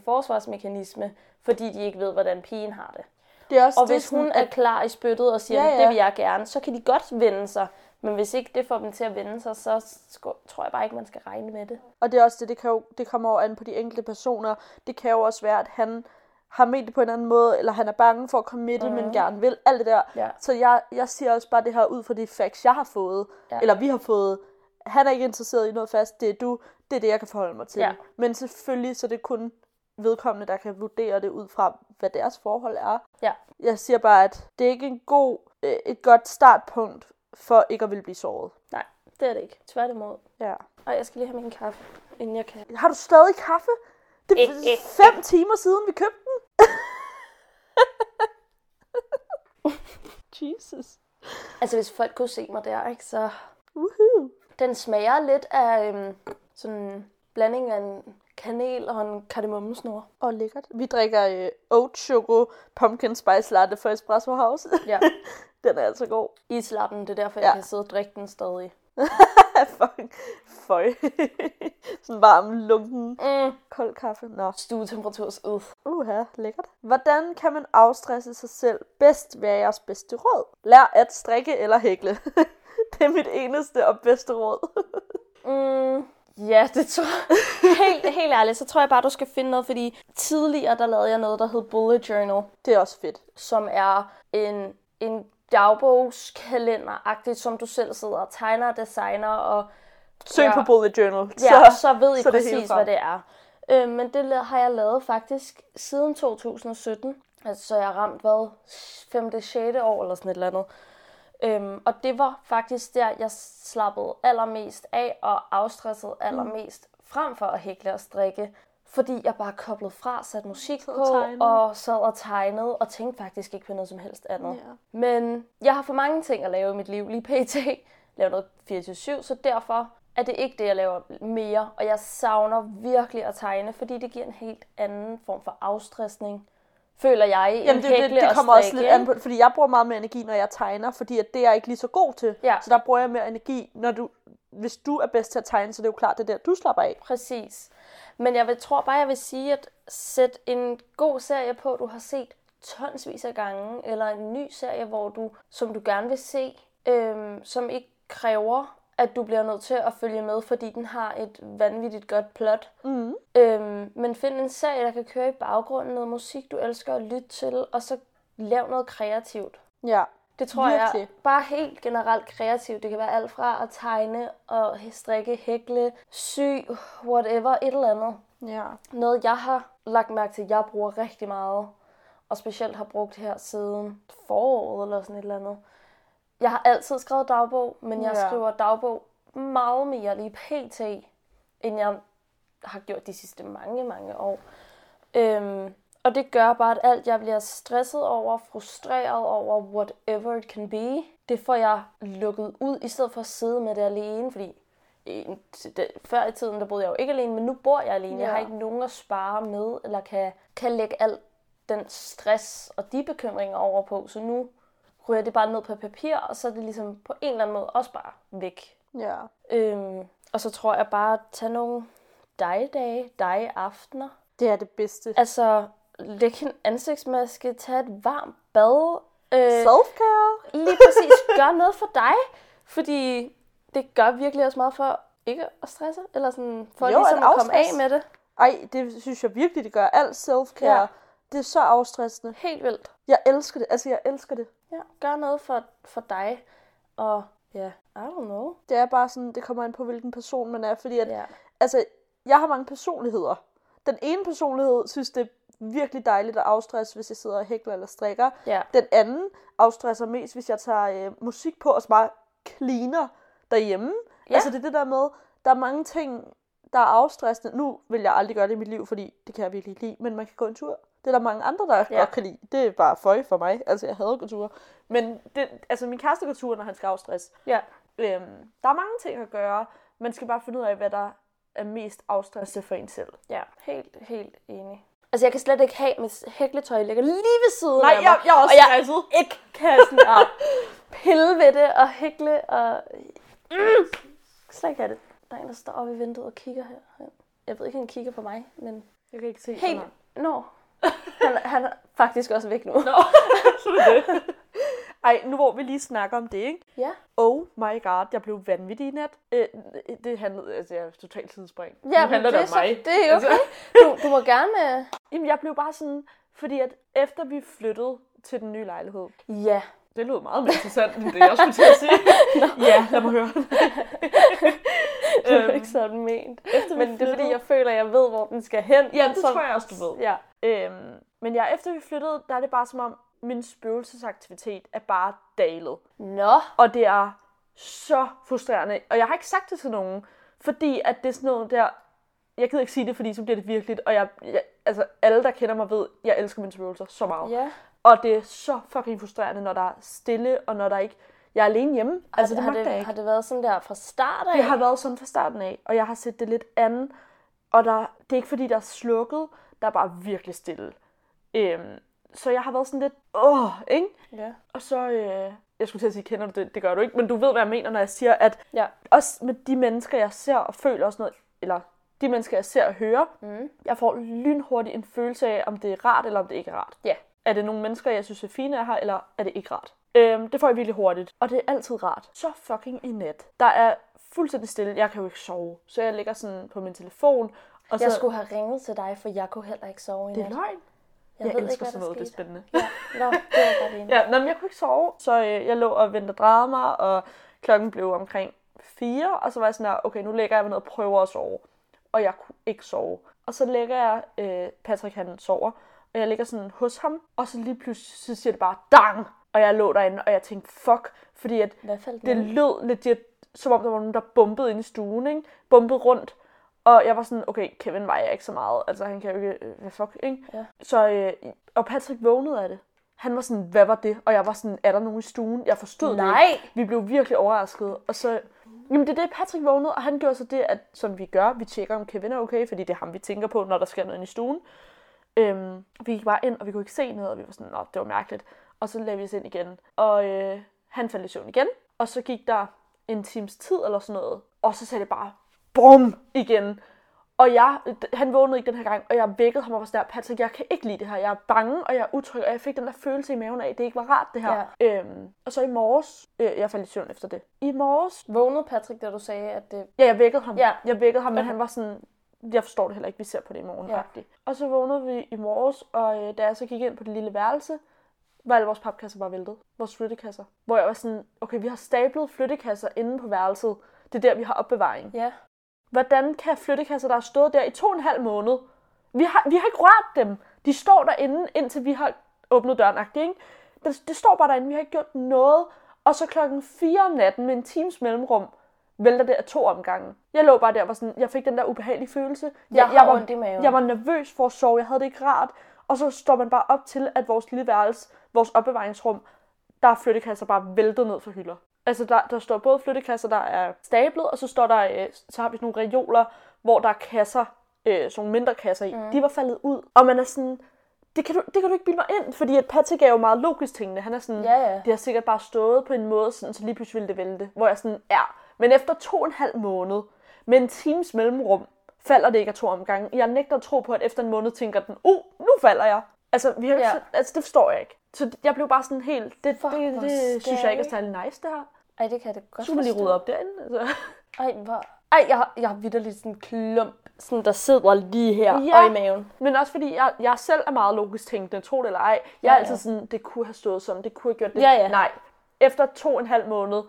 [SPEAKER 2] forsvarsmekanisme, fordi de ikke ved, hvordan pigen har det.
[SPEAKER 1] det er også
[SPEAKER 2] Og
[SPEAKER 1] det,
[SPEAKER 2] hvis
[SPEAKER 1] sådan,
[SPEAKER 2] hun
[SPEAKER 1] at-
[SPEAKER 2] er klar i spyttet og siger,
[SPEAKER 1] Ja,
[SPEAKER 2] ja,
[SPEAKER 1] ja.
[SPEAKER 2] det vil jeg gerne, så kan de godt vende sig. Men hvis ikke det får dem til at vende sig, så sku- tror jeg bare ikke, man skal regne med det.
[SPEAKER 1] Og det er også det, det, kan jo, det kommer jo an på de enkelte personer. Det kan jo også være, at han har ment det på en anden måde, eller han er bange for at committe, mm. men gerne vil. Alt det der.
[SPEAKER 2] Mhm. Ja.
[SPEAKER 1] Så jeg, jeg siger også bare det her ud fra de facts, jeg har fået, ja.
[SPEAKER 2] Ja.
[SPEAKER 1] eller vi har fået. Han er ikke interesseret i noget fast, det er du, det er det, jeg kan forholde mig til.
[SPEAKER 2] Ja.
[SPEAKER 1] Men selvfølgelig, så er det kun vedkommende, der kan vurdere det ud fra, hvad deres forhold er.
[SPEAKER 2] Ja.
[SPEAKER 1] Jeg siger bare, at det er ikke en god, øh, et godt startpunkt for ikke at ville blive såret.
[SPEAKER 2] Nej, det er det ikke. Tværtimod.
[SPEAKER 1] Ja.
[SPEAKER 2] Og jeg skal lige have min kaffe, inden jeg kan.
[SPEAKER 1] Har du stadig kaffe? Det
[SPEAKER 2] Æ, æ, æ.
[SPEAKER 1] er fem timer siden, vi købte den. Jesus.
[SPEAKER 2] Altså, hvis folk kunne se mig der, ikke, så...
[SPEAKER 1] Woohoo.
[SPEAKER 2] Den smager lidt af øhm, sådan en blanding af en kanel og en kardemommesnor.
[SPEAKER 1] Og lækkert. Vi drikker øh, oat choco pumpkin spice latte fra Espresso House.
[SPEAKER 2] Ja.
[SPEAKER 1] den er altså god.
[SPEAKER 2] Islappen, det er derfor,
[SPEAKER 1] Ja.
[SPEAKER 2] ja. jeg kan sidde og drikke den stadig.
[SPEAKER 1] Ah, Fuck. Føj. Sådan varm, lunken,
[SPEAKER 2] Mm.
[SPEAKER 1] kold kaffe. Nå.
[SPEAKER 2] Stuetemperatur, så ud.
[SPEAKER 1] Uha, lækkert. Hvordan kan man afstresse sig selv bedst ved jeres bedste råd? Lær at strikke eller hækle. det er mit eneste og bedste råd.
[SPEAKER 2] Mm, ja, det tror jeg. helt, helt ærligt, så tror jeg bare, du skal finde noget, fordi tidligere der lavede jeg noget, der hed Bullet Journal,
[SPEAKER 1] det er også fedt.
[SPEAKER 2] som er en, en dagbogskalender-agtigt, som du selv sidder og tegner og designer, og
[SPEAKER 1] Søg ja.
[SPEAKER 2] Ja.
[SPEAKER 1] på Bullet Journal.
[SPEAKER 2] ja, så, så ved I
[SPEAKER 1] så
[SPEAKER 2] så
[SPEAKER 1] er det hele
[SPEAKER 2] præcis,
[SPEAKER 1] frem.
[SPEAKER 2] hvad det er. Øh, men det la- har jeg lavet faktisk siden 2017. Altså, så jeg har ramt, hvad, 5. 6. år eller sådan et eller andet. Øhm, og det var faktisk der, jeg slappede allermest af og afstressede allermest mm. frem for at hækle og strikke. Fordi jeg bare koblede fra, satte musik
[SPEAKER 1] og
[SPEAKER 2] på
[SPEAKER 1] tegnede.
[SPEAKER 2] og sad og tegnede og tænkte faktisk ikke på noget som helst andet.
[SPEAKER 1] Ja.
[SPEAKER 2] Men jeg har for mange ting at lave i mit liv lige pt. Lave noget 24-7, så derfor er det ikke det, jeg laver mere. Og jeg savner virkelig at tegne, fordi det giver en helt anden form for afstressning. Føler jeg i
[SPEAKER 1] Jamen,
[SPEAKER 2] en
[SPEAKER 1] det, det,
[SPEAKER 2] hækle
[SPEAKER 1] det
[SPEAKER 2] og
[SPEAKER 1] kommer også
[SPEAKER 2] strikke,
[SPEAKER 1] lidt an på, fordi jeg bruger meget mere energi, når jeg tegner, fordi at det er jeg ikke lige så god til.
[SPEAKER 2] Ja.
[SPEAKER 1] Så der bruger jeg mere energi, når du, hvis du er bedst til at tegne, så det er jo klart, det er der, du slapper af.
[SPEAKER 2] Præcis. Men jeg vil, tror bare, jeg vil sige, at sæt en god serie på, du har set tonsvis af gange, eller en ny serie, hvor du, som du gerne vil se, øhm, som ikke kræver, at du bliver nødt til at følge med, fordi den har et vanvittigt godt plot.
[SPEAKER 1] Mm.
[SPEAKER 2] Øhm, men find en serie, der kan køre i baggrunden, noget musik, du elsker at lytte til, og så lav noget kreativt.
[SPEAKER 1] Ja.
[SPEAKER 2] Det tror jeg
[SPEAKER 1] Virkelig.
[SPEAKER 2] bare helt generelt kreativt. Det kan være alt fra at tegne og strikke, hækle, sy, whatever, et eller andet.
[SPEAKER 1] Ja.
[SPEAKER 2] Noget, jeg har lagt mærke til, jeg bruger rigtig meget, og specielt har brugt her siden foråret eller sådan et eller andet. Jeg har altid skrevet dagbog, men jeg
[SPEAKER 1] Ja.
[SPEAKER 2] ja. skriver dagbog meget mere lige pt, end jeg har gjort de sidste mange, mange år. Øhm, Og det gør bare, at alt jeg bliver stresset over, frustreret over, whatever it can be, det får jeg lukket ud, i stedet for at sidde med det alene, fordi i- det- før i tiden, der boede jeg jo ikke alene, men nu bor jeg alene. Jeg har
[SPEAKER 1] Ja.
[SPEAKER 2] ikke nogen at spare med, eller kan, kan lægge alt den stress og de bekymringer over på. Så nu ryger det bare ned på papir, og så er det ligesom på en eller anden måde også bare væk.
[SPEAKER 1] Ja.
[SPEAKER 2] Øhm, og så tror jeg bare, at tage nogle dig-dage, dig-aftener.
[SPEAKER 1] Det er det bedste.
[SPEAKER 2] Altså, læg en ansigtsmaske, tag et varmt bad. Øh,
[SPEAKER 1] Selfcare.
[SPEAKER 2] lige præcis, gør noget for dig. Fordi det gør virkelig også meget for ikke at stresse, eller sådan, for
[SPEAKER 1] Jo,
[SPEAKER 2] jo,
[SPEAKER 1] at
[SPEAKER 2] ligesom at komme af
[SPEAKER 1] afstresse.
[SPEAKER 2] med det.
[SPEAKER 1] Ej, det synes jeg virkelig, det gør. Alt selfcare. Ja.
[SPEAKER 2] Ja.
[SPEAKER 1] Det er så afstressende.
[SPEAKER 2] Helt vildt.
[SPEAKER 1] Jeg elsker det. Altså, jeg elsker det.
[SPEAKER 2] Ja, gør noget for, for dig. Og ja, I don't know.
[SPEAKER 1] Det er bare sådan, det kommer an på, hvilken person man er. Fordi at, ja.
[SPEAKER 2] Ja.
[SPEAKER 1] altså, jeg har mange personligheder. Den ene personlighed synes, det er virkelig dejligt at afstresse, hvis jeg sidder og hækler eller strikker.
[SPEAKER 2] Ja.
[SPEAKER 1] Den anden afstresser mest, hvis jeg tager øh, musik på og så bare cleaner derhjemme. Ja.
[SPEAKER 2] Ja.
[SPEAKER 1] Altså det er det der med, der er mange ting, der er afstressende. Nu vil jeg aldrig gøre det i mit liv, fordi det kan jeg virkelig ikke lide, men man kan gå en tur. Det er der mange andre, der ja.
[SPEAKER 2] Ja.
[SPEAKER 1] godt kan lide. Det er bare føj for mig. Altså jeg hader gåture. Men det, altså, min kæreste går ture, når han skal afstresse.
[SPEAKER 2] ja.
[SPEAKER 1] Øhm, der er mange ting at gøre. Man skal bare finde ud af, hvad der er mest afstressende for en selv.
[SPEAKER 2] Ja, helt, helt enig. Altså, jeg kan slet ikke have, at mit hækletøj ligger lige ved siden
[SPEAKER 1] Nej,
[SPEAKER 2] af mig.
[SPEAKER 1] jeg, jeg er også
[SPEAKER 2] og jeg
[SPEAKER 1] stresset.
[SPEAKER 2] ikke kan sådan at pille ved det og hækle og... Mm! Slet ikke have det. Der er en, der står oppe i vinduet og kigger her. Jeg ved ikke, han kigger på mig, men...
[SPEAKER 1] Jeg kan ikke se
[SPEAKER 2] Helt... Nå. Han, han er faktisk også væk nu.
[SPEAKER 1] Nå, så er det det. Ej, nu hvor vi lige snakker om det, ikke?
[SPEAKER 2] Ja.
[SPEAKER 1] Oh my god, jeg blev vanvittig i nat. Øh, det handlede, altså jeg er totalt tidsspring.
[SPEAKER 2] Ja,
[SPEAKER 1] nu handler det
[SPEAKER 2] det, er
[SPEAKER 1] om
[SPEAKER 2] så,
[SPEAKER 1] mig. Altså-
[SPEAKER 2] det er okay. Du, du må gerne... øh,
[SPEAKER 1] Jamen, jeg blev bare sådan, fordi at efter vi flyttede til den nye lejlighed,
[SPEAKER 2] Ja.
[SPEAKER 1] det lød meget mere interessant, end det jeg skulle til at sige. ja, lad mig høre.
[SPEAKER 2] Det er
[SPEAKER 1] Øhm,
[SPEAKER 2] ikke sådan ment.
[SPEAKER 1] Efter vi
[SPEAKER 2] Men det er, fordi
[SPEAKER 1] flyttede-
[SPEAKER 2] jeg føler, at jeg ved, hvor den skal hen.
[SPEAKER 1] Ja, det
[SPEAKER 2] Så-
[SPEAKER 1] tror jeg også, du ved.
[SPEAKER 2] Ja.
[SPEAKER 1] Øhm, men ja, efter vi flyttede, der er det bare som om, min spøgelsesaktivitet er bare dalet.
[SPEAKER 2] Nå.
[SPEAKER 1] Og det er så frustrerende. Og jeg har ikke sagt det til nogen, fordi at det er sådan noget der... Jeg gider ikke sige det, fordi så bliver det virkeligt. Og jeg, jeg, altså, alle, der kender mig, ved, jeg elsker mine spøgelser så meget.
[SPEAKER 2] Ja.
[SPEAKER 1] Og det er så fucking frustrerende, når der er stille, og når der ikke... Jeg er alene hjemme. Altså, det
[SPEAKER 2] har,
[SPEAKER 1] magter jeg
[SPEAKER 2] det,
[SPEAKER 1] ikke.
[SPEAKER 2] har det været sådan der fra start af?
[SPEAKER 1] Det har været sådan fra starten af, og jeg har set det lidt andet. Og der, det er ikke fordi, der er slukket, der er bare virkelig stille. Øhm, så jeg har været sådan lidt, åh, ikke?
[SPEAKER 2] Ja.
[SPEAKER 1] Og så, øh, jeg skulle til at sige, kender du det? Det gør du ikke, men du ved, hvad jeg mener, når jeg siger, at
[SPEAKER 2] Ja.
[SPEAKER 1] også med de mennesker, jeg ser og føler og sådan noget, eller de mennesker, jeg ser og hører,
[SPEAKER 2] Mm.
[SPEAKER 1] jeg får lynhurtigt en følelse af, om det er rart eller om det ikke er rart.
[SPEAKER 2] Ja.
[SPEAKER 1] Er det nogle mennesker, jeg synes er fine er her, eller er det ikke rart? Øhm, det får jeg virkelig hurtigt, og det er altid rart. Så fucking i nat. Der er fuldstændig stille, jeg kan jo ikke sove, så jeg ligger sådan på min telefon, og så...
[SPEAKER 2] Jeg skulle have ringet til dig, for jeg kunne heller ikke sove i
[SPEAKER 1] Det er
[SPEAKER 2] nat.
[SPEAKER 1] løgn.
[SPEAKER 2] Jeg,
[SPEAKER 1] jeg
[SPEAKER 2] ved
[SPEAKER 1] elsker
[SPEAKER 2] ikke, hvad
[SPEAKER 1] sådan noget,
[SPEAKER 2] der
[SPEAKER 1] det er
[SPEAKER 2] skete.
[SPEAKER 1] spændende.
[SPEAKER 2] Ja, nå, det var bare det ene.
[SPEAKER 1] Ja, nå, men jeg kunne ikke sove, så øh, jeg lå og ventede og drejede mig, og klokken blev omkring 4, og så var jeg sådan her, okay, nu lægger jeg mig ned og prøver at sove. Og jeg kunne ikke sove. Og så lægger jeg, øh, Patrick han sover, og jeg ligger sådan hos ham, og så lige pludselig så siger det bare, dang! Og jeg lå derinde, og jeg tænkte, fuck, fordi at
[SPEAKER 2] Hvad faldt
[SPEAKER 1] det
[SPEAKER 2] den?
[SPEAKER 1] lød legit, som om der var nogen, der bumpede ind i stuen, ikke? Bumpede rundt. Og jeg var sådan, okay, Kevin vejer ikke så meget. Altså, han kan jo ikke... øh, Hvad fuck, ikke?
[SPEAKER 2] Ja.
[SPEAKER 1] Så, øh, og Patrick vågnede af det. Han var sådan, hvad var det? Og jeg var sådan, er der nogen i stuen? Jeg forstod det
[SPEAKER 2] Nej!
[SPEAKER 1] ikke. Vi blev virkelig overrasket. Og så... Jamen, det er det, Patrick vågnede, og han gjorde så det, at, som vi gør, vi tjekker, om Kevin er okay, fordi det er ham, vi tænker på, når der sker noget inde i stuen. Øhm, vi gik bare ind, og vi kunne ikke se noget, og vi var sådan, nå, det var mærkeligt. Og så lagde vi os ind igen. Og øh, han faldt i søvn igen. Og så gik der en times tid eller sådan noget. Og så sagde det bare, bum, igen. Og jeg, d- han vågnede ikke den her gang, og jeg vækkede ham og var sådan der, Patrick, jeg kan ikke lide det her. Jeg er bange, og jeg er utryg, og jeg fik den der følelse i maven af, at det ikke var rart, det her. Ja. Øhm, og så i morges, øh, jeg faldt i søvn efter det. I morges,
[SPEAKER 2] Vågnede Patrick, da du sagde, at øh, det...
[SPEAKER 1] Ja, jeg vækkede ham.
[SPEAKER 2] Ja.
[SPEAKER 1] Jeg vækkede ham, men
[SPEAKER 2] Okay.
[SPEAKER 1] han var sådan, jeg forstår det heller ikke, vi ser på det i morgen.
[SPEAKER 2] Ja.
[SPEAKER 1] Ja. Og så vågnede vi i morges, og øh, da jeg så gik ind på det lille værelse, var alle vores papkasser bare væltet. Vores flyttekasser. Hvor jeg var sådan, okay, vi har stablet flyttekasser inde på værelset. Det er der, vi har opbevaring.
[SPEAKER 2] Ja.
[SPEAKER 1] Hvordan kan flyttekasser, der har stået der i to og en halv måned, vi har, vi har ikke rørt dem. De står derinde, indtil vi har åbnet døren, agtigt, ikke? Det, det står bare derinde, vi har ikke gjort noget. Og så klokken 4 om natten med en times mellemrum, vælter det af to omgange. Jeg lå bare der og var sådan, jeg fik den der ubehagelige følelse.
[SPEAKER 2] Jeg har
[SPEAKER 1] var,
[SPEAKER 2] ondt i maven.
[SPEAKER 1] Jeg var nervøs for at sove, jeg havde det ikke rart. Og så står man bare op til, at vores lille værelse, vores opbevaringsrum, der er flyttekasser bare væltet ned fra hylder. Altså, der, der står både flyttekasser, der er stablet, og så står der, øh, så har vi sådan nogle reoler, hvor der er kasser, øh, sådan nogle mindre kasser i. Mm. De var faldet ud, og man er sådan, det kan, du, det kan du ikke bilde mig ind, fordi at Patrick er jo meget logisk tingene. Han er sådan,
[SPEAKER 2] Ja, ja.
[SPEAKER 1] det har sikkert bare stået på en måde, sådan, så lige pludselig ville det vælte. Hvor jeg sådan, ja, men efter to og en halv måned, med en times mellemrum, falder det ikke af to omgange. Jeg nægter at tro på, at efter en måned tænker den, uh, nu falder jeg. Altså, vi har,
[SPEAKER 2] Ja.
[SPEAKER 1] ja. altså det forstår jeg ikke. Så det- jeg blev bare sådan helt, det,
[SPEAKER 2] Fuck,
[SPEAKER 1] det,
[SPEAKER 2] hvor
[SPEAKER 1] det synes jeg ikke er
[SPEAKER 2] scary.
[SPEAKER 1] særlig nice, det her.
[SPEAKER 2] Ej, det kan jeg da godt
[SPEAKER 1] Så må lige
[SPEAKER 2] forstå.
[SPEAKER 1] rydde op derinde. Altså.
[SPEAKER 2] Ej, hvor... Ej, jeg har, jeg har vidderligt sådan en klump, sådan, der sidder lige her
[SPEAKER 1] Ja.
[SPEAKER 2] og i maven.
[SPEAKER 1] Men også fordi, jeg, jeg selv er meget logisk tænkende, tro det eller ej. Jeg
[SPEAKER 2] Ja,
[SPEAKER 1] er altid
[SPEAKER 2] ja.
[SPEAKER 1] sådan, det kunne have stået sådan, det kunne have gjort det.
[SPEAKER 2] Ja, ja.
[SPEAKER 1] Nej, efter to og en halv måned,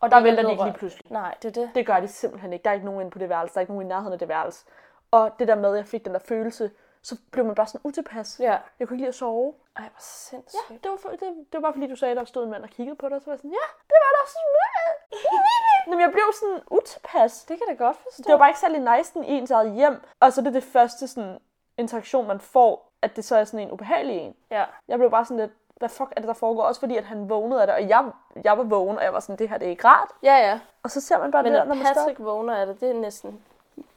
[SPEAKER 2] Og
[SPEAKER 1] der
[SPEAKER 2] er
[SPEAKER 1] vælter de
[SPEAKER 2] noget
[SPEAKER 1] ikke lige
[SPEAKER 2] rørt.
[SPEAKER 1] pludselig.
[SPEAKER 2] Nej, det er det.
[SPEAKER 1] Det gør de simpelthen ikke. Der er ikke nogen inde på det værelse, der er ikke nogen i nærheden af det værelse. Og det der med, at jeg fik den der følelse, så blev man bare sådan utilpas.
[SPEAKER 2] Ja.
[SPEAKER 1] Jeg kunne ikke lide at sove.
[SPEAKER 2] Ej, hvor sindssygt.
[SPEAKER 1] Det var, for, det, det var bare fordi, du sagde, at der stod en mand og kiggede på dig, og så var jeg sådan, ja, det var der sådan. Men jeg blev sådan utilpas.
[SPEAKER 2] Det kan jeg da godt forstå.
[SPEAKER 1] Det var bare ikke særlig nice den i ens eget hjem. Og så er det det første sådan, interaktion, man får, at det så er sådan en ubehagelig en.
[SPEAKER 2] Ja.
[SPEAKER 1] Jeg blev bare sådan lidt, hvad fuck er det, der foregår? Også fordi, at han vågnede af det, og jeg, jeg var vågen, og jeg var sådan, det her det er ikke rart.
[SPEAKER 2] Ja, ja.
[SPEAKER 1] Og så ser man bare
[SPEAKER 2] Men
[SPEAKER 1] det,
[SPEAKER 2] at
[SPEAKER 1] når man står
[SPEAKER 2] Patrick vågner af det, det er næsten...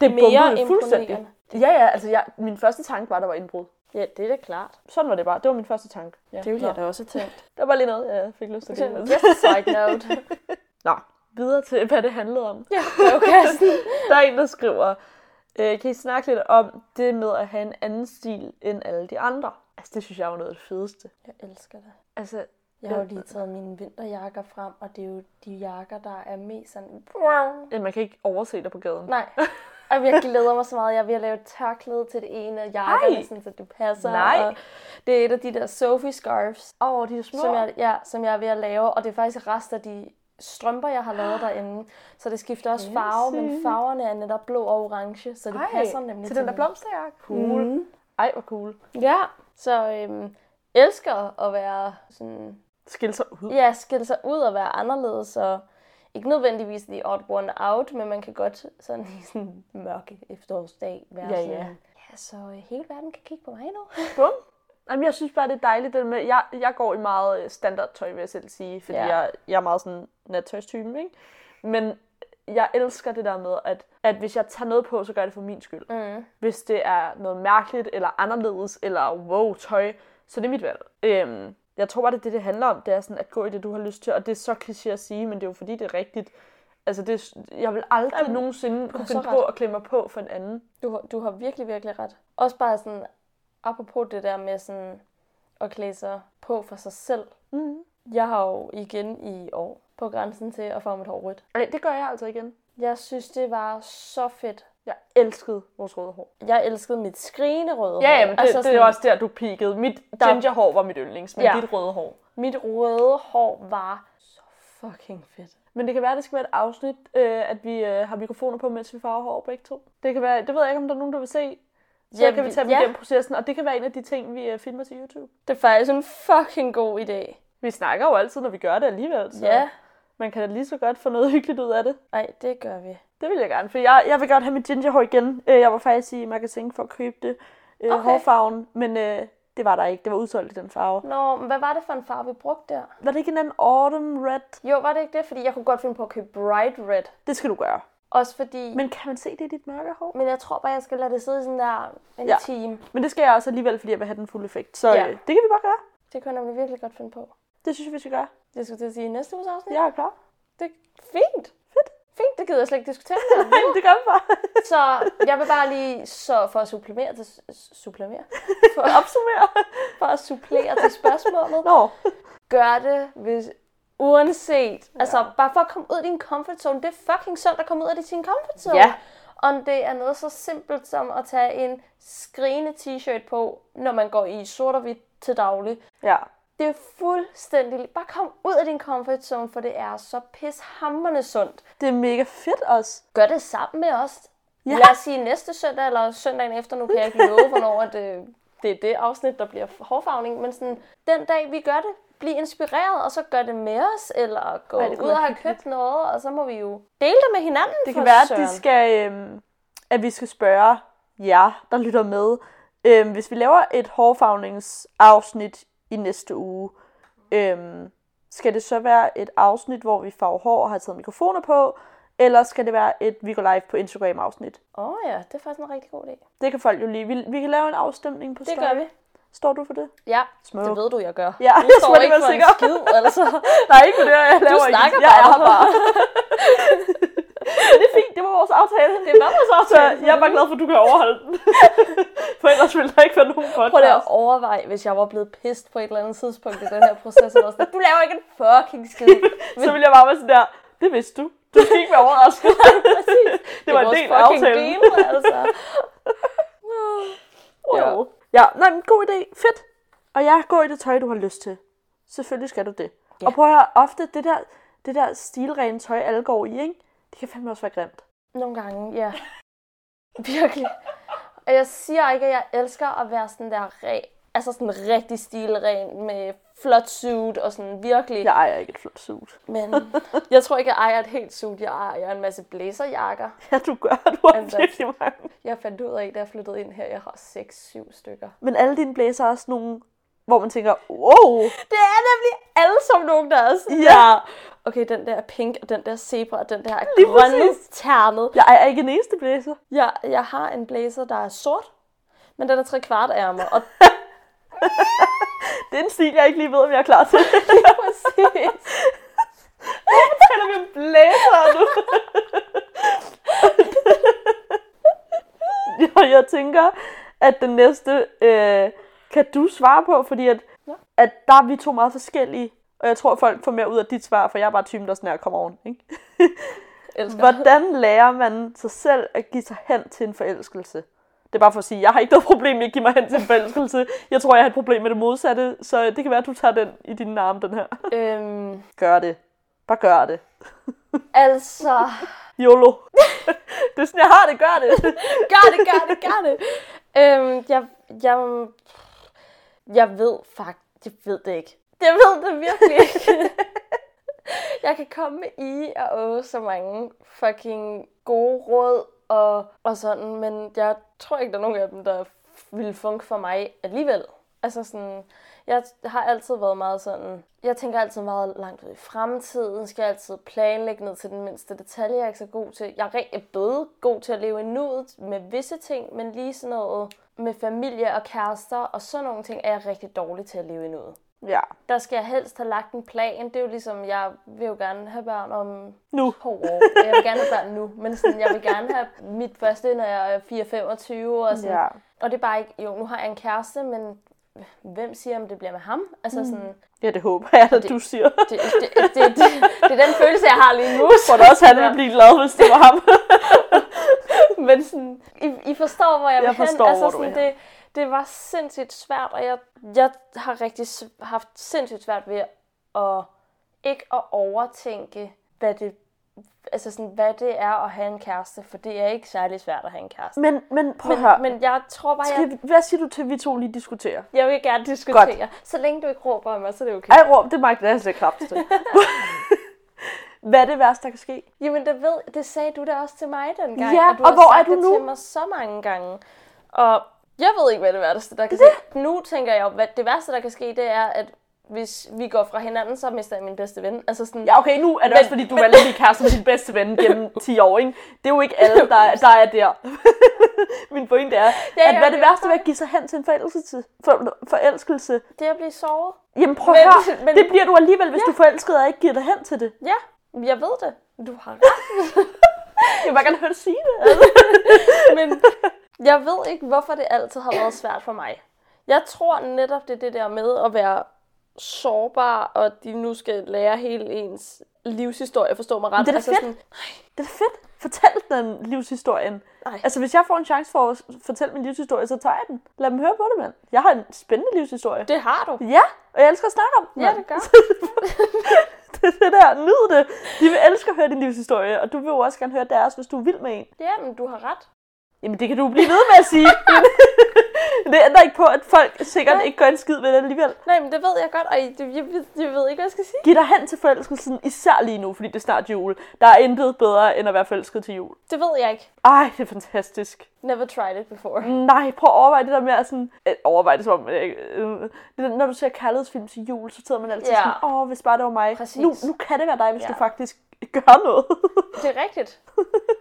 [SPEAKER 1] Det
[SPEAKER 2] Mere
[SPEAKER 1] bumpede fuldstændig. Ja, ja, altså jeg, min første tanke var, at der var indbrud.
[SPEAKER 2] Ja, det er da klart.
[SPEAKER 1] Sådan var det bare. Det var min første tanke. Ja.
[SPEAKER 2] Det ville
[SPEAKER 1] Nå.
[SPEAKER 2] jeg da også have tænkt.
[SPEAKER 1] Der var lige noget, jeg fik lyst til at
[SPEAKER 2] Det er
[SPEAKER 1] dele
[SPEAKER 2] en
[SPEAKER 1] med.
[SPEAKER 2] side note.
[SPEAKER 1] Nå, videre til, hvad det handlede om.
[SPEAKER 2] ja, brevkassen.
[SPEAKER 1] Der er en, der skriver, øh, kan I snakke lidt om det med at have en anden stil end alle de andre? Altså, det synes jeg er jo noget af det fedeste.
[SPEAKER 2] Jeg elsker det.
[SPEAKER 1] Altså,
[SPEAKER 2] Jeg har jo lige taget mine vinterjakker frem, og det er jo de jakker, der er mest sådan...
[SPEAKER 1] øh, man kan ikke overse dig på gaden.
[SPEAKER 2] Nej. Og jeg glæder mig så meget. Jeg er ved at lave et tørklæde til det ene af jakkerne,
[SPEAKER 1] Ej.
[SPEAKER 2] sådan, så det passer.
[SPEAKER 1] Nej.
[SPEAKER 2] Og det er et af de der Sophie scarves,
[SPEAKER 1] Åh, oh, de er små.
[SPEAKER 2] som jeg, ja, som jeg er ved at lave. Og det er faktisk rest af de strømper, jeg har lavet derinde. Så det skifter også farve, men
[SPEAKER 1] Fancy.
[SPEAKER 2] farverne er netop blå og orange, så det
[SPEAKER 1] Ej,
[SPEAKER 2] passer nemlig
[SPEAKER 1] til den der
[SPEAKER 2] mig.
[SPEAKER 1] blomsterjakke. Cool. Mm. Ej, hvor cool.
[SPEAKER 2] Ja, så øhm, elsker at være sådan,
[SPEAKER 1] Skille sig ud.
[SPEAKER 2] ja, skille sig ud og være anderledes, og ikke nødvendigvis the odd one out, men man kan godt sådan i sådan en mørke efterårsdag være
[SPEAKER 1] Ja,
[SPEAKER 2] sådan,
[SPEAKER 1] ja.
[SPEAKER 2] ja, så øh, hele verden kan kigge på mig nu.
[SPEAKER 1] Bum. Jamen, jeg synes bare, det er dejligt. Det med, jeg, jeg går i meget øh, standardtøj, vil jeg selv sige, fordi
[SPEAKER 2] Ja.
[SPEAKER 1] ja. jeg, jeg er meget sådan nattøjstypen, ikke? Men jeg elsker det der med, at, at hvis jeg tager noget på, så gør jeg det for min skyld.
[SPEAKER 2] Mm.
[SPEAKER 1] Hvis det er noget mærkeligt, eller anderledes, eller wow, tøj, så er det mit valg. Øhm, jeg tror bare, det er det, det handler om. Det er sådan at gå i det, du har lyst til. Og det er så kliché at sige, men det er jo fordi, det er rigtigt. Altså, det, er- jeg vil aldrig
[SPEAKER 2] Jamen,
[SPEAKER 1] nogensinde kunne
[SPEAKER 2] så
[SPEAKER 1] finde
[SPEAKER 2] ret.
[SPEAKER 1] på at klemme mig på for en anden.
[SPEAKER 2] Du, har- du har virkelig, virkelig ret. Også bare sådan, apropos det der med sådan at klæde sig på for sig selv.
[SPEAKER 1] Mm.
[SPEAKER 2] Jeg har jo igen i år på grænsen til at få mit hår rødt.
[SPEAKER 1] Ej, det gør jeg altså igen.
[SPEAKER 2] Jeg synes, det var så fedt.
[SPEAKER 1] Jeg elskede vores røde hår.
[SPEAKER 2] Jeg elskede mit skrigende røde
[SPEAKER 1] Ja,
[SPEAKER 2] hår.
[SPEAKER 1] jamen, det, altså det
[SPEAKER 2] sådan-
[SPEAKER 1] er også der, du peakede. Mit
[SPEAKER 2] Der-
[SPEAKER 1] gingerhår var mit yndlings, men
[SPEAKER 2] Ja.
[SPEAKER 1] ja. dit røde hår.
[SPEAKER 2] Mit røde hår var så fucking fedt.
[SPEAKER 1] Men det kan være, at det skal være et afsnit, øh, at vi øh, har mikrofoner på, mens vi farver hår begge to. Det kan være, det ved jeg ikke, om der er nogen, der vil se. Så
[SPEAKER 2] Ja,
[SPEAKER 1] ja, kan vi
[SPEAKER 2] vi-
[SPEAKER 1] tage dem
[SPEAKER 2] ja.
[SPEAKER 1] ja. igennem processen, og det kan være en af de ting, vi øh, filmer til YouTube.
[SPEAKER 2] Det er faktisk en fucking god idé.
[SPEAKER 1] Vi snakker jo altid, når vi gør det alligevel, så
[SPEAKER 2] Så. Ja.
[SPEAKER 1] man kan da lige så godt få noget hyggeligt ud af det.
[SPEAKER 2] Ej, det gør vi.
[SPEAKER 1] Det vil jeg gerne, for jeg, jeg vil godt have mit gingerhår igen. Øh, jeg var faktisk i magasin for at købe det, øh,
[SPEAKER 2] Okay.
[SPEAKER 1] okay. hårfarven, men øh, det var der ikke. Det var udsolgt i den farve.
[SPEAKER 2] Nå, men hvad var det for en farve, vi brugte der?
[SPEAKER 1] Var det ikke en anden autumn red?
[SPEAKER 2] Jo, var det ikke det? Fordi jeg kunne godt finde på at købe bright red.
[SPEAKER 1] Det skal du gøre.
[SPEAKER 2] Også fordi... Men,
[SPEAKER 1] Men kan man se det i dit mørke hår?
[SPEAKER 2] men jeg tror bare, jeg skal lade det sidde i sådan der en ja.
[SPEAKER 1] Ja.
[SPEAKER 2] time.
[SPEAKER 1] Men det skal jeg også alligevel, fordi jeg vil have den fulde effekt. Så
[SPEAKER 2] Ja.
[SPEAKER 1] ja. øh, det kan vi bare gøre.
[SPEAKER 2] Det kunne jeg nemlig virkelig godt finde på.
[SPEAKER 1] Det synes jeg, vi skal gøre.
[SPEAKER 2] Det skulle jeg til at sige i næste uges afsnit.
[SPEAKER 1] Jeg er klar.
[SPEAKER 2] Det er fint.
[SPEAKER 1] Fedt.
[SPEAKER 2] Fint, det gider jeg slet ikke diskutere.
[SPEAKER 1] Nej, det gør vi bare.
[SPEAKER 2] så jeg vil bare lige så for at supplere til... Supplere? For,
[SPEAKER 1] Opsummere.
[SPEAKER 2] for at supplere til spørgsmålet.
[SPEAKER 1] Nå.
[SPEAKER 2] gør det, hvis uanset. Ja. Altså, bare for at komme ud af din comfort zone. Det er fucking sundt at komme ud af sin comfort zone.
[SPEAKER 1] Ja.
[SPEAKER 2] Om det er noget så simpelt som at tage en skrigende t-shirt på, når man går i sort og hvidt til daglig.
[SPEAKER 1] Ja.
[SPEAKER 2] Det er fuldstændig... Bare kom ud af din comfort zone, for det er så pishammerende sundt.
[SPEAKER 1] Det er mega fedt også.
[SPEAKER 2] Gør det sammen med os. Ja.
[SPEAKER 1] Ja.
[SPEAKER 2] Lad os sige næste søndag, eller søndagen efter. Nu kan jeg ikke love, hvornår at, øh, det er det afsnit, der bliver hårfarvning. Men sådan, den dag, vi gør det, bliv inspireret, og så gør det med os, eller gå
[SPEAKER 1] Ej,
[SPEAKER 2] Ej,
[SPEAKER 1] det
[SPEAKER 2] ud
[SPEAKER 1] kunne
[SPEAKER 2] og
[SPEAKER 1] være
[SPEAKER 2] have købt noget, og så må vi jo dele det med hinanden.
[SPEAKER 1] Det
[SPEAKER 2] for
[SPEAKER 1] kan være, at, de
[SPEAKER 2] søren.
[SPEAKER 1] skal, øhm, at vi skal spørge jer, der lytter med, Øhm, hvis vi laver et hårfarvningsafsnit i næste uge, øhm, skal det så være et afsnit, hvor vi farver hår og har taget mikrofoner på, eller skal det være et Vi går live på Instagram-afsnit?
[SPEAKER 2] Åh oh, ja, det er faktisk en rigtig god idé.
[SPEAKER 1] Det kan folk jo lige. Vi, vi kan lave en afstemning på
[SPEAKER 2] Det
[SPEAKER 1] story.
[SPEAKER 2] gør vi.
[SPEAKER 1] Står du for det?
[SPEAKER 2] Ja,
[SPEAKER 1] Smuk.
[SPEAKER 2] det ved du, jeg gør.
[SPEAKER 1] Ja,
[SPEAKER 2] Du står
[SPEAKER 1] smuk,
[SPEAKER 2] ikke
[SPEAKER 1] vel
[SPEAKER 2] for en
[SPEAKER 1] sikker.
[SPEAKER 2] skid, altså.
[SPEAKER 1] Nej, ikke det, jeg laver
[SPEAKER 2] Du snakker
[SPEAKER 1] ikke. Jeg
[SPEAKER 2] bare.
[SPEAKER 1] er bare. det er fint, det var vores aftale.
[SPEAKER 2] Det var vores
[SPEAKER 1] Så
[SPEAKER 2] aftale.
[SPEAKER 1] jeg er bare glad for, at du kan overholde den. for ellers ville der ikke være nogen podcast.
[SPEAKER 2] Prøv lige at overveje, hvis jeg var blevet pissed på et eller andet tidspunkt i den her proces. Og var sådan, du laver ikke en fucking skid.
[SPEAKER 1] Så ville jeg bare være sådan der, det vidste du. Du skal ikke være overrasket.
[SPEAKER 2] Præcis.
[SPEAKER 1] Det var en
[SPEAKER 2] vores
[SPEAKER 1] del af
[SPEAKER 2] fucking
[SPEAKER 1] aftalen.
[SPEAKER 2] Deal, altså. Ja.
[SPEAKER 1] Wow. Ja, nej, men god idé. Fedt. Og jeg går i det tøj, du har lyst til. Selvfølgelig skal du det. Ja.
[SPEAKER 2] Ja.
[SPEAKER 1] Og prøv at høre, ofte det der, det der stilrene tøj, alle går i, ikke? Det kan fandme også være grimt.
[SPEAKER 2] Nogle gange, ja. Virkelig. Og jeg siger ikke, at jeg elsker at være sådan der re, altså sådan rigtig stilren med flot suit og sådan virkelig.
[SPEAKER 1] Jeg ejer ikke et flot suit.
[SPEAKER 2] Men jeg tror ikke, jeg ejer et helt suit. Jeg ejer en masse blæserjakker.
[SPEAKER 1] Ja, du gør. Du har
[SPEAKER 2] Jamen,
[SPEAKER 1] virkelig mange.
[SPEAKER 2] Jeg fandt ud af, da jeg flyttede ind her, jeg har 6-7 stykker.
[SPEAKER 1] Men alle dine blæser er også nogle, hvor man tænker, wow,
[SPEAKER 2] Det er nemlig alle som nogen, der er sådan
[SPEAKER 1] Ja.
[SPEAKER 2] der, Okay, den der er pink, og den der er zebra, og den der er
[SPEAKER 1] Lige
[SPEAKER 2] grønne
[SPEAKER 1] præcis.
[SPEAKER 2] ternet.
[SPEAKER 1] jeg ejer ikke en eneste blæser.
[SPEAKER 2] Jeg, jeg har en blazer, der er sort, men den er tre kvart ærmer, og
[SPEAKER 1] Det er en stil, jeg ikke lige ved, om jeg er klar til.
[SPEAKER 2] præcis.
[SPEAKER 1] Eller med blæser nu. jeg, jeg tænker, at den næste øh, kan du svare på, fordi at,
[SPEAKER 2] Ja.
[SPEAKER 1] at der er vi to meget forskellige. Og jeg tror, folk får mere ud af dit svar, for jeg er bare typen, der sådan her kommer oven. Ikke?
[SPEAKER 2] Elsker.
[SPEAKER 1] Hvordan lærer man sig selv at give sig hen til en forelskelse? Det er bare for at sige, jeg har ikke noget problem med at give mig hen til en forelskelse. Jeg tror, jeg har et problem med det modsatte, så det kan være, at du tager den i dine arme, den her.
[SPEAKER 2] Øhm,
[SPEAKER 1] Gør det. Bare gør det.
[SPEAKER 2] altså,
[SPEAKER 1] YOLO. det er sådan, jeg har det, gør det.
[SPEAKER 2] gør det, gør det, gør det. Øhm, jeg, jeg, jeg ved faktisk, jeg ved det ikke. Jeg ved det virkelig ikke. jeg kan komme med i og åh, så mange fucking gode råd og, og sådan, men jeg tror ikke, der er nogen af dem, der ville funke for mig alligevel. Altså sådan, jeg har altid været meget sådan, jeg tænker altid meget langt ud i fremtiden, skal altid planlægge ned til den mindste detalje, jeg er ikke så god til. Jeg er rigtig både god til at leve i nuet med visse ting, men lige sådan noget med familie og kærester og sådan nogle ting, er jeg rigtig dårlig til at leve i nuet.
[SPEAKER 1] Ja.
[SPEAKER 2] Der skal jeg helst have lagt en plan. Det er jo ligesom, jeg vil jo gerne have børn om
[SPEAKER 1] Nu.
[SPEAKER 2] to år. Jeg vil gerne have børn nu, men sådan, jeg vil gerne have mit første, når jeg er 4-25 og sådan.
[SPEAKER 1] Ja.
[SPEAKER 2] Og det er bare ikke, jo, nu har jeg en kæreste, men hvem siger, om det bliver med ham?
[SPEAKER 1] Mm.
[SPEAKER 2] Altså sådan,
[SPEAKER 1] Ja, det håber jeg, at du siger.
[SPEAKER 2] det, det, det, det, det er den følelse, jeg har lige nu.
[SPEAKER 1] Jeg tror da også, han ville blive glad, hvis det var ham.
[SPEAKER 2] Men sådan, I, I forstår, hvor jeg,
[SPEAKER 1] Jeg
[SPEAKER 2] vil hen.
[SPEAKER 1] forstår, hvor
[SPEAKER 2] altså,
[SPEAKER 1] du
[SPEAKER 2] sådan,
[SPEAKER 1] er.
[SPEAKER 2] det, det var sindssygt svært, og jeg, jeg har rigtig s- haft sindssygt svært ved at ikke at overtænke, hvad det, altså sådan, hvad det er at have en kæreste, for det er ikke særlig svært at have en kæreste.
[SPEAKER 1] Men, men prøv at høre.
[SPEAKER 2] Men, men jeg tror bare, jeg,
[SPEAKER 1] Skal, hvad siger du til, at vi to lige diskuterer?
[SPEAKER 2] jeg vil gerne diskutere. Godt. Så længe du ikke råber af mig, så er det okay.
[SPEAKER 1] Ej, råb, det magter jeg slet ikke kraft til. Hvad er det værste, der kan ske?
[SPEAKER 2] Jamen, det, ved, det sagde du da også til mig dengang.
[SPEAKER 1] Ja,
[SPEAKER 2] og, du
[SPEAKER 1] og
[SPEAKER 2] har
[SPEAKER 1] hvor
[SPEAKER 2] sagt
[SPEAKER 1] er du
[SPEAKER 2] det
[SPEAKER 1] nu?
[SPEAKER 2] til mig så mange gange. Og jeg ved ikke, hvad det værste, der kan ske. Nu tænker jeg jo, hvad det værste, der kan ske, det er, at hvis vi går fra hinanden, så mister jeg min bedste ven. Altså sådan,
[SPEAKER 1] Ja, okay, nu er det
[SPEAKER 2] Men-
[SPEAKER 1] også, fordi du valgte at blive kæreste med din bedste ven gennem 10 år, ikke? Det er jo ikke alle, der, er- der er der. Min pointe er,
[SPEAKER 2] Ja,
[SPEAKER 1] at
[SPEAKER 2] ja,
[SPEAKER 1] hvad er det
[SPEAKER 2] det er
[SPEAKER 1] værste ved at give sig hen til en forelskelse? For, forelskelse?
[SPEAKER 2] det er at blive såret.
[SPEAKER 1] Jamen prøv at
[SPEAKER 2] Men-
[SPEAKER 1] høre,
[SPEAKER 2] men-
[SPEAKER 1] det bliver du alligevel, hvis ja. du forelskede og ikke giver dig hen til det.
[SPEAKER 2] Ja, jeg ved det. Du har ret,
[SPEAKER 1] Jeg vil bare gerne høre dig sige det.
[SPEAKER 2] men jeg ved ikke, hvorfor det altid har været svært for mig. Jeg tror netop, det er det der med at være sårbar, og de nu skal lære hele ens livshistorie, forstår mig ret. Altså
[SPEAKER 1] Men det er da fedt.
[SPEAKER 2] sådan,
[SPEAKER 1] Det er da fedt. Fortæl den livshistorien.
[SPEAKER 2] nej,
[SPEAKER 1] Altså, hvis jeg får en chance for at fortælle min livshistorie, så tager jeg den. Lad dem høre på det, mand. Jeg har en spændende livshistorie.
[SPEAKER 2] det har du.
[SPEAKER 1] Ja, og jeg elsker at snakke om den,
[SPEAKER 2] Ja,
[SPEAKER 1] mand.
[SPEAKER 2] det gør.
[SPEAKER 1] det er det der. Nyd det. De vil elske at høre din livshistorie, og du vil jo også gerne høre deres, hvis du er vild med en.
[SPEAKER 2] Ja, men du har ret.
[SPEAKER 1] Jamen, det kan du blive ved med at sige. Det ændrer ikke på, at folk sikkert
[SPEAKER 2] Nej.
[SPEAKER 1] ikke gør en skid ved det alligevel.
[SPEAKER 2] Nej, men det ved jeg godt, og jeg, jeg, ved- jeg ved ikke, hvad jeg skal sige.
[SPEAKER 1] Giv dig hen til forelskelsen, især lige nu, fordi det er snart jul. Der er intet bedre, end at være forelsket til jul.
[SPEAKER 2] Det ved jeg ikke.
[SPEAKER 1] Ej, det er fantastisk.
[SPEAKER 2] Never tried it before.
[SPEAKER 1] Nej, prøv at overveje det der med at sådan... Øh, overveje det som om... Øh, øh, det der, når du ser kærlighedsfilm til jul, så sidder man altid
[SPEAKER 2] Ja.
[SPEAKER 1] sådan... Åh, hvis bare det var mig.
[SPEAKER 2] Præcis.
[SPEAKER 1] Nu, nu kan det være dig, hvis
[SPEAKER 2] Ja.
[SPEAKER 1] du faktisk gør noget.
[SPEAKER 2] Det er rigtigt.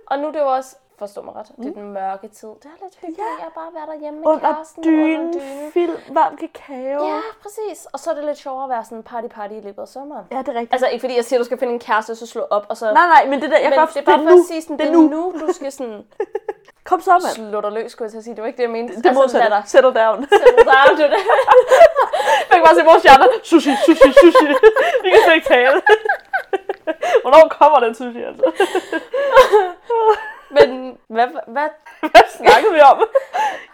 [SPEAKER 2] Og nu er det jo også, forstå mig ret, det er den mørke tid. Det er lidt hyggeligt at bare være derhjemme med
[SPEAKER 1] Mm. under
[SPEAKER 2] kæresten.
[SPEAKER 1] dynen,
[SPEAKER 2] Under dynen.
[SPEAKER 1] film, varm kakao.
[SPEAKER 2] Ja, præcis. Og så er det lidt sjovere at være sådan party-party i løbet af sommeren.
[SPEAKER 1] ja, det er rigtigt.
[SPEAKER 2] Altså ikke fordi jeg siger, at du skal finde en kæreste, og så slå op, og så...
[SPEAKER 1] Nej, nej, men det der, jeg
[SPEAKER 2] men
[SPEAKER 1] kan godt
[SPEAKER 2] det er bare
[SPEAKER 1] det
[SPEAKER 2] for
[SPEAKER 1] nu.
[SPEAKER 2] at sige, sådan,
[SPEAKER 1] det er nu.
[SPEAKER 2] du skal sådan
[SPEAKER 1] Kom så, mand.
[SPEAKER 2] slå dig løs, skulle jeg til at sige. Det var ikke det, jeg mente. Altså,
[SPEAKER 1] Det er modsatte.
[SPEAKER 2] lad dig
[SPEAKER 1] Settle down.
[SPEAKER 2] sætte dig af, du det.
[SPEAKER 1] Jeg kan bare se vores hjerner. Sushi, sushi, sushi. Vi kan slet ikke tale. Hvornår kommer den sushi, altså?
[SPEAKER 2] Men hvad, hvad,
[SPEAKER 1] Hvad snakkede vi om?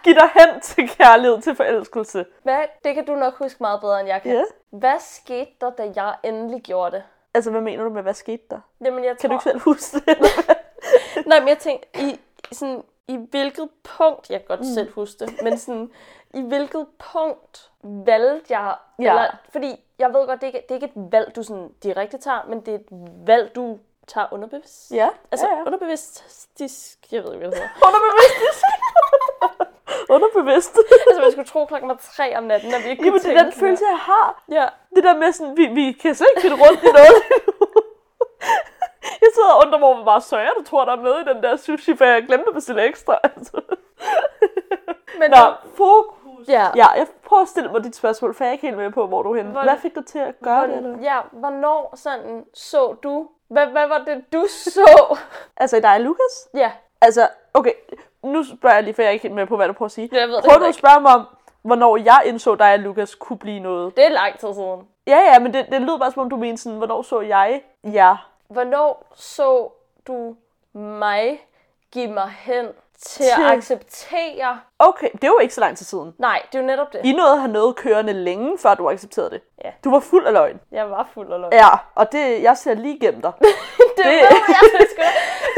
[SPEAKER 1] Giv dig hen til kærlighed, til forelskelse.
[SPEAKER 2] hvad, det kan du nok huske meget bedre, end jeg kan.
[SPEAKER 1] Ja.
[SPEAKER 2] Hvad skete der, da jeg endelig gjorde det?
[SPEAKER 1] Altså, hvad mener du med, hvad skete der?
[SPEAKER 2] Jamen, jeg tror...
[SPEAKER 1] Kan du ikke selv huske det?
[SPEAKER 2] Nej, men jeg tænkte, i, sådan, i hvilket punkt, jeg kan godt mm. selv huske det, men sådan, i hvilket punkt valgte jeg,
[SPEAKER 1] Ja.
[SPEAKER 2] ja. eller, fordi jeg ved godt, det er, ikke, det er ikke et valg, du sådan direkte tager, men det er et valg, du tager underbevidst.
[SPEAKER 1] ja,
[SPEAKER 2] Altså
[SPEAKER 1] altså, ja, ja.
[SPEAKER 2] underbevidstisk, jeg ved ikke, hvad det hedder.
[SPEAKER 1] underbevidst. underbevidst.
[SPEAKER 2] altså man skulle tro klokken var tre om natten, når vi ikke
[SPEAKER 1] Jamen,
[SPEAKER 2] kunne
[SPEAKER 1] det er den
[SPEAKER 2] tænke.
[SPEAKER 1] følelse, jeg har.
[SPEAKER 2] Ja.
[SPEAKER 1] Det der med sådan, vi, vi kan slet ikke finde rundt i noget lige nu. Jeg sidder og undrer mig, hvor meget søjer du tror, der er med i den der sushi, for jeg glemte at bestille ekstra. Altså.
[SPEAKER 2] Men,
[SPEAKER 1] Nå, fokus.
[SPEAKER 2] Ja.
[SPEAKER 1] ja, jeg prøver at stille mig dit spørgsmål, for jeg er ikke helt med på, hvor du er henne.
[SPEAKER 2] Hvor-
[SPEAKER 1] Hvad fik dig til at gøre det? Eller?
[SPEAKER 2] ja, hvornår sådan så du, hvad, hvad var det, du så?
[SPEAKER 1] Altså, i dig, Lukas?
[SPEAKER 2] ja,
[SPEAKER 1] Altså, okay, nu spørger jeg lige, for jeg er ikke helt med på, hvad du prøver at sige.
[SPEAKER 2] Ja, jeg ved det
[SPEAKER 1] prøver du
[SPEAKER 2] heller
[SPEAKER 1] at spørge mig om, hvornår jeg indså dig, at Lukas kunne blive noget?
[SPEAKER 2] det er lang tid siden.
[SPEAKER 1] Ja, ja, men det, det lød bare, som om du mente sådan, hvornår så jeg jer?
[SPEAKER 2] Hvornår så du mig give mig hen til
[SPEAKER 1] Til-
[SPEAKER 2] at acceptere?
[SPEAKER 1] Okay, det var ikke så lang tid siden.
[SPEAKER 2] Nej, det er jo netop det.
[SPEAKER 1] I nåede at have noget kørende længe, før du accepterede det.
[SPEAKER 2] Ja.
[SPEAKER 1] Du var fuld af løgn.
[SPEAKER 2] Jeg var fuld af løgn.
[SPEAKER 1] Ja, og det, jeg ser lige igennem dig.
[SPEAKER 2] det, det ved jeg sgu.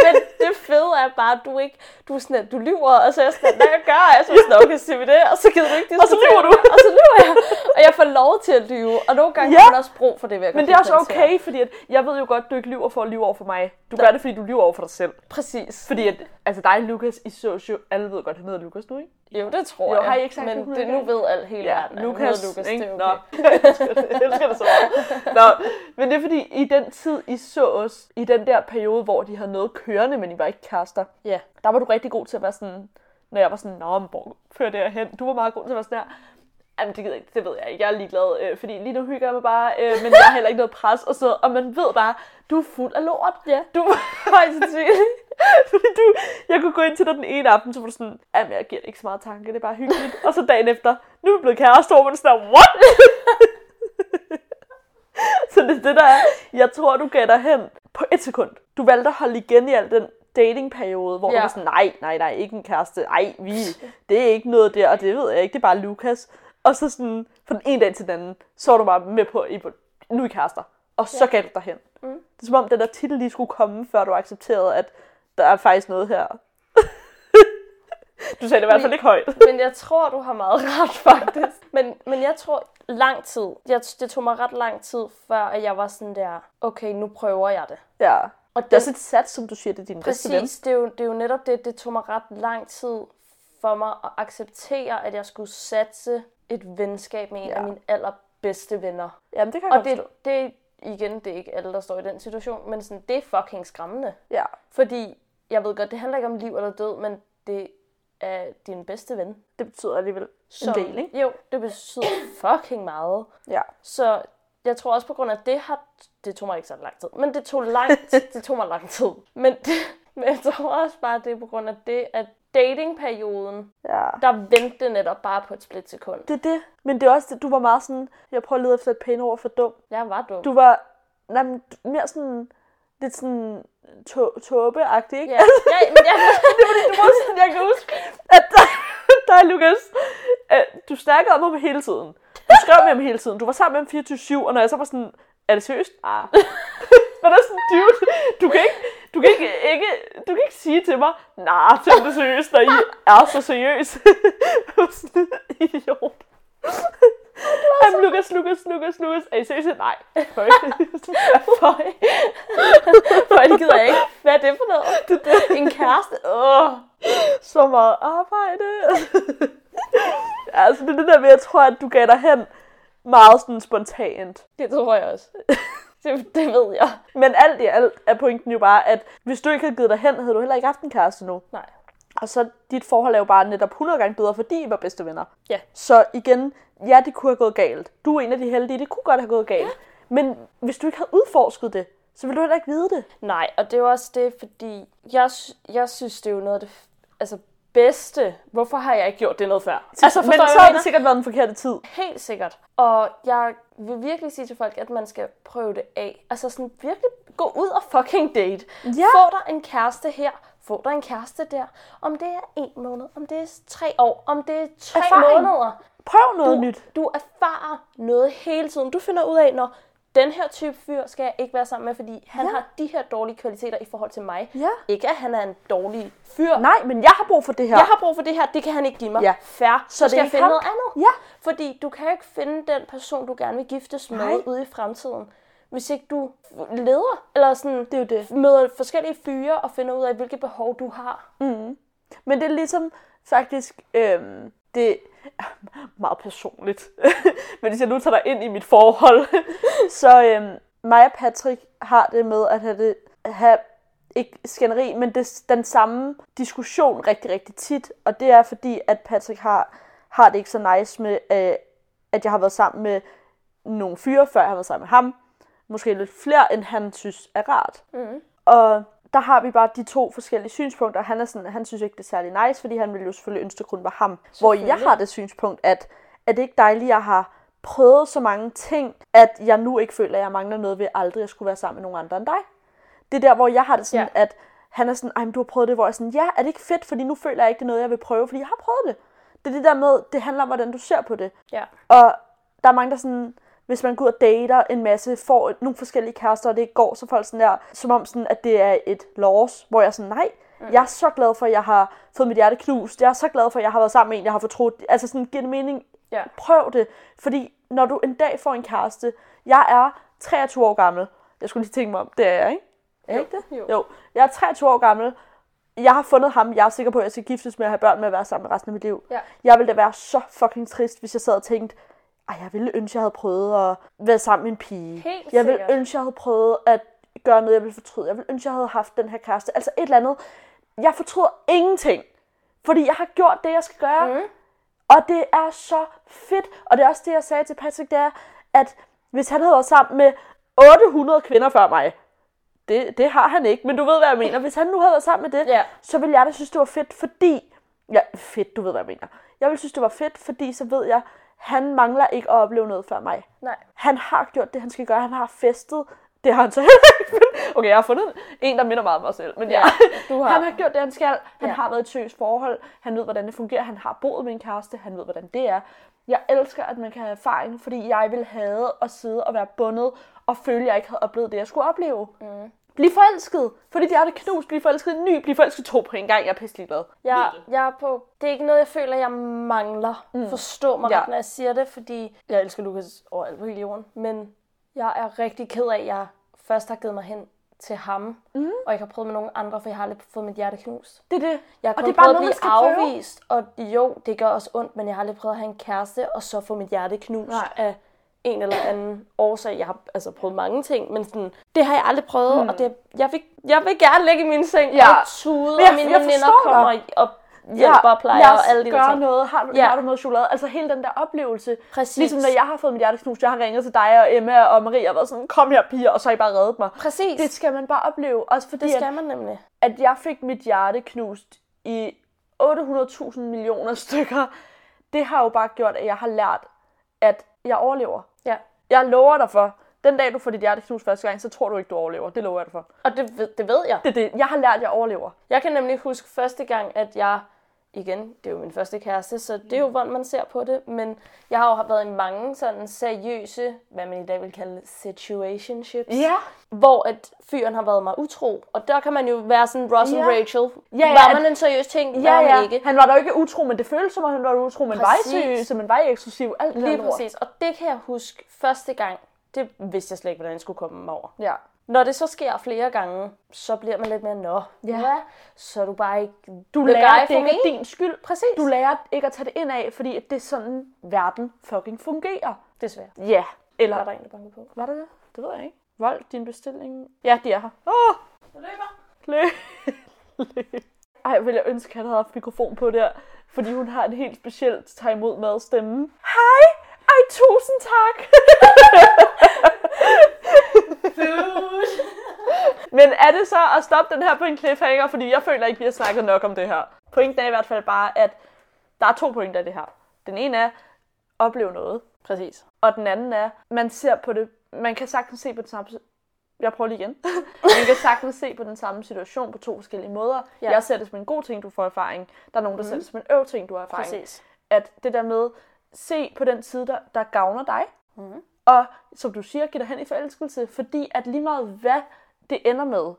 [SPEAKER 2] Men det fede er bare, at du ikke... Du er sådan, at du lyver, og så er jeg sådan, at, hvad jeg gør? Og så er jeg sådan, okay, siger vi det, og så gider du ikke det.
[SPEAKER 1] Og så lyver du.
[SPEAKER 2] Og så lyver jeg. Og jeg får lov til at lyve, og nogle gange
[SPEAKER 1] Ja.
[SPEAKER 2] ja. har man også brug for det, vil jeg
[SPEAKER 1] Men
[SPEAKER 2] godt
[SPEAKER 1] det er også
[SPEAKER 2] konstatere.
[SPEAKER 1] okay, fordi at jeg ved jo godt, du ikke lyver for at lyve over for mig. Du gør det, fordi du lyver over for dig selv.
[SPEAKER 2] Præcis.
[SPEAKER 1] Fordi at, altså dig, Lukas, i socio, alle ved godt, han hedder Lukas nu, ikke?
[SPEAKER 2] Jo, det tror
[SPEAKER 1] Jo,
[SPEAKER 2] jeg.
[SPEAKER 1] har I ikke sagt det
[SPEAKER 2] Men
[SPEAKER 1] hundrede
[SPEAKER 2] det, nu
[SPEAKER 1] gange?
[SPEAKER 2] ved alt hele verden. at han
[SPEAKER 1] Lukas,
[SPEAKER 2] hedder Lukas,
[SPEAKER 1] ikke?
[SPEAKER 2] det er
[SPEAKER 1] Nå.
[SPEAKER 2] okay.
[SPEAKER 1] jeg elsker det, jeg elsker det så meget. Nå, men det er fordi, i den tid, I så os, i den der periode, hvor de havde noget kørende, men I var ikke kærester,
[SPEAKER 2] Ja.
[SPEAKER 1] der var du rigtig god til at være sådan, når jeg var sådan, nå, men hvor fører det her hen? Du var meget god til at være sådan her. Jamen, det, gider jeg ikke, det ved jeg ikke. Jeg er ligeglad, øh, fordi lige nu hygger jeg mig bare, øh, men jeg har heller ikke noget pres og så. Og man ved bare, du er fuld af lort.
[SPEAKER 2] Ja.
[SPEAKER 1] Du
[SPEAKER 2] Højst sandsynligt.
[SPEAKER 1] fordi du, jeg kunne gå ind til dig den ene aften, så var du sådan, jamen, jeg giver det ikke så meget tanke, det er bare hyggeligt. og så dagen efter, nu er vi blevet kærester, og man er sådan, der, what? så det er det, der er. Jeg tror, du gav dig hen på et sekund. Du valgte at holde igen i al den datingperiode, hvor ja. du
[SPEAKER 2] Ja.
[SPEAKER 1] var sådan, nej, nej, nej, ikke en kæreste. Ej, vi, det er ikke noget der, og det ved jeg ikke, det er bare Lukas. Og så sådan, fra den ene dag til den anden, så var du bare med på, I, nu er I kærester. Og så ja. gav du dig hen. Mm. Det er som om, den der titel lige skulle komme, før du accepterede, at der er faktisk noget her. du sagde det i hvert fald ikke højt.
[SPEAKER 2] Men jeg tror, du har meget ret, faktisk. Men, men jeg tror lang tid. Jeg, det tog mig ret lang tid, før at jeg var sådan der, okay, nu prøver jeg det.
[SPEAKER 1] Ja.
[SPEAKER 2] Og
[SPEAKER 1] Det er også et sats, som du siger, det er din bedste ven.
[SPEAKER 2] præcis, det er, jo, det er jo netop det, det tog mig ret lang tid for mig at acceptere, at jeg skulle satse et venskab med en
[SPEAKER 1] Ja.
[SPEAKER 2] ja. af mine allerbedste venner.
[SPEAKER 1] Jamen, det kan jeg
[SPEAKER 2] Og
[SPEAKER 1] godt
[SPEAKER 2] det,
[SPEAKER 1] forstå.
[SPEAKER 2] det, igen, det er ikke alle, der står i den situation, men sådan, det er fucking skræmmende.
[SPEAKER 1] Ja.
[SPEAKER 2] Fordi, jeg ved godt, det handler ikke om liv eller død, men det er din bedste ven.
[SPEAKER 1] Det betyder alligevel en del, ikke?
[SPEAKER 2] Jo, det betyder fucking meget.
[SPEAKER 1] Ja.
[SPEAKER 2] Så jeg tror også på grund af det har... Det tog mig ikke så lang tid, men det tog, langt, det tog mig lang tid. Men, det, men jeg tror også bare, det er på grund af det, at datingperioden,
[SPEAKER 1] ja.
[SPEAKER 2] der vendte det netop bare på et splitsekund.
[SPEAKER 1] Det er det. Men det er også det, du var meget sådan, jeg prøver at lede efter et pænt ord for dum.
[SPEAKER 2] Jeg var dum.
[SPEAKER 1] Du var nej, men, du- mere sådan, lidt sådan tå- tåbeagtig, ikke?
[SPEAKER 2] Ja, ja, men jeg, det var det, du var sådan, jeg kan huske.
[SPEAKER 1] at der, der er Lukas. øh, Du snakkede om ham hele tiden. Du skrev med ham hele tiden. Du var sammen med ham 24-7, og når jeg så var sådan, er det seriøst? Ah. Man er sådan, dude, du kan ikke, du kan ikke, ikke, du kan ikke sige til mig, nej, nah, tag det seriøst, når I er så seriøs. Jeg var sådan, idiot. Jamen, Lukas, Lukas, Lukas, Lukas. Er I seriøse? Nej. Føj.
[SPEAKER 2] Føj. Føj, det gider jeg ikke. Hvad er det for noget? Det, det. En kæreste? Åh.
[SPEAKER 1] så meget arbejde. altså, det er det der med, jeg tror, at du gav dig hen meget sådan spontant.
[SPEAKER 2] Det tror jeg også. Det, det ved jeg.
[SPEAKER 1] Men alt i alt er pointen jo bare, at hvis du ikke havde givet dig hen, havde du heller ikke haft en kæreste nu.
[SPEAKER 2] Nej.
[SPEAKER 1] Og så dit forhold er jo bare netop 100 gange bedre, fordi I var bedste venner.
[SPEAKER 2] Ja.
[SPEAKER 1] Så igen, ja, det kunne have gået galt. Du er en af de heldige, det kunne godt have gået galt. Ja. Men hvis du ikke havde udforsket det, så ville du heller ikke vide det.
[SPEAKER 2] Nej, og det er jo også det, fordi jeg, sy- jeg synes, det er jo noget af det f- altså, bedste. Hvorfor har jeg ikke gjort det noget før? Altså,
[SPEAKER 1] Men
[SPEAKER 2] forstår
[SPEAKER 1] så
[SPEAKER 2] jeg,
[SPEAKER 1] har
[SPEAKER 2] mener?
[SPEAKER 1] det sikkert været den forkerte tid.
[SPEAKER 2] Helt sikkert. Og jeg vil virkelig sige til folk, at man skal prøve det af. Altså sådan virkelig gå ud og fucking date.
[SPEAKER 1] Ja.
[SPEAKER 2] Få dig en kæreste her, få dig en kæreste der. Om det er en måned, om det er tre år, om det er tre
[SPEAKER 1] Erfaring.
[SPEAKER 2] måneder.
[SPEAKER 1] Prøv noget
[SPEAKER 2] Du,
[SPEAKER 1] nyt.
[SPEAKER 2] du erfarer noget hele tiden. Du finder ud af, når den her type fyr skal jeg ikke være sammen med, fordi han
[SPEAKER 1] Ja.
[SPEAKER 2] ja. har de her dårlige kvaliteter i forhold til mig.
[SPEAKER 1] Ja.
[SPEAKER 2] Ikke at han er en dårlig fyr.
[SPEAKER 1] Nej, men jeg har brug for det her.
[SPEAKER 2] Jeg har brug for det her, det kan han ikke give mig.
[SPEAKER 1] Ja.
[SPEAKER 2] Fair. Så,
[SPEAKER 1] det
[SPEAKER 2] så skal
[SPEAKER 1] er
[SPEAKER 2] jeg
[SPEAKER 1] ikke
[SPEAKER 2] finde
[SPEAKER 1] ham.
[SPEAKER 2] noget andet.
[SPEAKER 1] Ja.
[SPEAKER 2] Fordi du kan jo ikke finde den person, du gerne vil giftes med
[SPEAKER 1] Nej.
[SPEAKER 2] ude i fremtiden, hvis ikke du leder, eller sådan, det
[SPEAKER 1] er jo det.
[SPEAKER 2] møder forskellige fyre og finder ud af, hvilke behov du har.
[SPEAKER 1] Men det er ligesom faktisk, øhm, det er meget personligt, men hvis jeg nu tager dig ind i mit forhold, så øhm, mig og Patrick har det med at have, det, have ikke skænderi, men det, den samme diskussion rigtig, rigtig tit, og det er fordi, at Patrick har, har det ikke så nice med, øh, at jeg har været sammen med nogle fyre, før jeg har været sammen med ham. Måske lidt flere, end han synes er rart. Og der har vi bare de to forskellige synspunkter. Han, er sådan, han synes ikke, det er særlig nice, fordi han ville jo selvfølgelig ønske, det kun var ham. Hvor jeg har det synspunkt, at er det ikke dejligt, at jeg har prøvet så mange ting, at jeg nu ikke føler, at jeg mangler noget ved aldrig at skulle være sammen med nogen andre end dig. Det er der, hvor jeg har det sådan, ja.
[SPEAKER 2] Ja.
[SPEAKER 1] at han er sådan, ej, men du har prøvet det, hvor jeg er sådan, ja, er det ikke fedt, fordi nu føler jeg ikke, det er noget, jeg vil prøve, fordi jeg har prøvet det. Det er det der med, det handler om, hvordan du ser på det.
[SPEAKER 2] Ja.
[SPEAKER 1] Og der er mange, der sådan, hvis man går ud og dater en masse, får nogle forskellige kærester, og det ikke går, så er folk sådan der, som om sådan, at det er et loss, hvor jeg er sådan, nej, mm. jeg er så glad for, at jeg har fået mit hjerte knust, jeg er så glad for, at jeg har været sammen med en, jeg har fortrudt, altså sådan, giver det mening,
[SPEAKER 2] Ja.
[SPEAKER 1] prøv det, fordi når du en dag får en kæreste, jeg er 23 år gammel, jeg skulle lige tænke mig om, det er jeg, ikke? Er jeg
[SPEAKER 2] Jo,
[SPEAKER 1] ikke det?
[SPEAKER 2] jo.
[SPEAKER 1] jo. Jeg er 23 år gammel, jeg har fundet ham, jeg er sikker på, at jeg skal giftes med at have børn med at være sammen med resten af mit liv.
[SPEAKER 2] Ja.
[SPEAKER 1] Jeg ville da være så fucking trist, hvis jeg sad og tænkte, ej, jeg ville ønske, jeg havde prøvet at være sammen med en pige.
[SPEAKER 2] Helt
[SPEAKER 1] jeg ville
[SPEAKER 2] sikkert.
[SPEAKER 1] ønske, jeg havde prøvet at gøre noget, jeg ville fortryde. Jeg ville ønske, jeg havde haft den her kæreste. Altså et eller andet. Jeg fortryder ingenting, fordi jeg har gjort det, jeg skal gøre. Mm. Og det er så fedt. Og det er også det, jeg sagde til Patrick, det er, at hvis han havde været sammen med 800 kvinder før mig, det, det har han ikke, men du ved, hvad jeg mener. Hvis han nu havde været sammen med det,
[SPEAKER 2] Ja.
[SPEAKER 1] så ville jeg da synes, det var fedt, fordi... Ja, fedt, du ved, hvad jeg mener. Jeg ville synes, det var fedt, fordi så ved jeg, han mangler ikke at opleve noget før mig.
[SPEAKER 2] Nej.
[SPEAKER 1] Han har gjort det, han skal gøre. Han har festet. Det har han så heller ikke. men- Okay, jeg har fundet en, der minder meget om mig selv. Men ja,
[SPEAKER 2] Ja, du har.
[SPEAKER 1] han har gjort det, han skal. Han ja.
[SPEAKER 2] Ja.
[SPEAKER 1] har været i et seriøst forhold. Han ved, hvordan det fungerer. Han har boet med en kæreste. Han ved, hvordan det er. Jeg elsker, at man kan have erfaring, fordi jeg ville have at sidde og være bundet og føle, at jeg ikke havde oplevet det, jeg skulle opleve. Mm. Bliv forelsket. Fordi det er det knust. Bliv forelsket i en ny. Bliv forelsket i to på en gang. Jeg er pisse ligeglad.
[SPEAKER 2] Jeg, jeg er på. Det er ikke noget, jeg føler, jeg mangler. Mm. Forstå mig
[SPEAKER 1] Ja.
[SPEAKER 2] ja. ret, når jeg siger det, fordi jeg elsker Lukas overalt på hele jorden. Men jeg er rigtig ked af, at jeg først har givet mig hen til ham, mm. og ikke har prøvet med nogen andre, for jeg har aldrig fået mit hjerte knust.
[SPEAKER 1] Det er det.
[SPEAKER 2] Jeg har
[SPEAKER 1] og
[SPEAKER 2] kun
[SPEAKER 1] det er bare
[SPEAKER 2] prøvet
[SPEAKER 1] noget, man
[SPEAKER 2] at
[SPEAKER 1] skal
[SPEAKER 2] blive
[SPEAKER 1] prøve.
[SPEAKER 2] afvist, og jo, det gør også ondt, men jeg har aldrig prøvet at have en kæreste, og så få mit hjerte knust
[SPEAKER 1] Nej.
[SPEAKER 2] Nej. af en eller anden årsag. Jeg har altså prøvet mange ting, men sådan, det har jeg aldrig prøvet, mm. og det, jeg, vil, jeg vil gerne ligge i min seng
[SPEAKER 1] Hmm. Ja.
[SPEAKER 2] ja. og tude,
[SPEAKER 1] Men jeg-
[SPEAKER 2] og mine
[SPEAKER 1] jeg
[SPEAKER 2] veninder
[SPEAKER 1] forstår
[SPEAKER 2] kommer
[SPEAKER 1] dig.
[SPEAKER 2] og hjælper og plejer
[SPEAKER 1] lad os
[SPEAKER 2] og alle de der
[SPEAKER 1] gøre
[SPEAKER 2] ting.
[SPEAKER 1] noget. Har du, ja.
[SPEAKER 2] Ja.
[SPEAKER 1] har du noget chokolade? Altså hele den der oplevelse.
[SPEAKER 2] Præcis.
[SPEAKER 1] Ligesom når jeg har fået mit hjerte knust, jeg har ringet til dig og Emma og Maria og været sådan, kom her piger, og så har I bare reddet mig.
[SPEAKER 2] Præcis,
[SPEAKER 1] Det
[SPEAKER 2] det,
[SPEAKER 1] skal man bare opleve. Også fordi,
[SPEAKER 2] det
[SPEAKER 1] at,
[SPEAKER 2] skal man nemlig.
[SPEAKER 1] at jeg fik mit hjerte knust i 800.000 millioner stykker, det har jo bare gjort, at jeg har lært, at jeg overlever.
[SPEAKER 2] Ja.
[SPEAKER 1] Jeg lover dig for, den dag du får dit hjerte knust første gang, så tror du ikke, du overlever. Det lover jeg dig for.
[SPEAKER 2] Og det, ved- det ved jeg.
[SPEAKER 1] Det er det. Jeg har lært, at jeg overlever.
[SPEAKER 2] Jeg kan nemlig huske første gang, at jeg igen, det er jo min første kæreste, så det er
[SPEAKER 1] Mm.
[SPEAKER 2] jo, hvordan man ser på det. Men jeg har jo været i mange sådan seriøse, hvad man i dag vil kalde situationships,
[SPEAKER 1] Ja.
[SPEAKER 2] hvor at fyren har været mig utro. Og der kan man jo være sådan Ross and
[SPEAKER 1] Ja.
[SPEAKER 2] Rachel.
[SPEAKER 1] ja,
[SPEAKER 2] var
[SPEAKER 1] at-
[SPEAKER 2] man en seriøs ting? Ja,
[SPEAKER 1] Ja,
[SPEAKER 2] var man
[SPEAKER 1] ja.
[SPEAKER 2] ikke?
[SPEAKER 1] Han var da jo ikke utro, men det føltes som om, han var utro, men var
[SPEAKER 2] Præcis.
[SPEAKER 1] seriøs, men var eksklusiv. Alt det
[SPEAKER 2] Lige
[SPEAKER 1] der lort.
[SPEAKER 2] præcis. Og det kan jeg huske første gang. Det vidste jeg slet ikke, hvordan jeg skulle komme mig over.
[SPEAKER 1] Ja.
[SPEAKER 2] Når det så sker flere gange, så bliver man lidt mere, nå, ja. så er du bare ikke...
[SPEAKER 1] Du
[SPEAKER 2] the
[SPEAKER 1] lærer,
[SPEAKER 2] guy
[SPEAKER 1] at det
[SPEAKER 2] for
[SPEAKER 1] ikke er
[SPEAKER 2] me."
[SPEAKER 1] din skyld.
[SPEAKER 2] Præcis.
[SPEAKER 1] Du lærer ikke at tage det ind af, fordi at det er sådan, verden fucking fungerer.
[SPEAKER 2] Desværre.
[SPEAKER 1] Ja. Eller,
[SPEAKER 2] Var der en, der bankede på?
[SPEAKER 1] var det det? Det ved jeg ikke. Vold, din bestilling. Ja, de er her. Åh, oh,
[SPEAKER 2] Jeg løber.
[SPEAKER 1] løb. løb. Ej, vil jeg ønske, at han havde haft mikrofon på der. Fordi hun har en helt speciel tag imod mad stemme. Hej! Ej, tusind tak! Men er det så at stoppe den her på en cliffhanger? Fordi jeg føler ikke, vi har snakket nok om det her. Pointen er i hvert fald bare, at der er to pointer i det her. Den ene er, opleve noget.
[SPEAKER 2] Præcis.
[SPEAKER 1] Og den anden er, man ser på det, man kan sagtens se på den samme, jeg prøver lige igen. Man kan sagtens se på den samme situation på to forskellige måder.
[SPEAKER 2] Ja. Mhm.
[SPEAKER 1] Ja. Jeg ser det som en god ting, du får erfaring. Der er nogen, der mm. ser det som en øv ting, du har erfaring.
[SPEAKER 2] Præcis.
[SPEAKER 1] At det der med, se på den side, der, der gavner dig. Mm. Og som du siger, giv dig hen i forelskelse, fordi at lige meget hvad det ender med,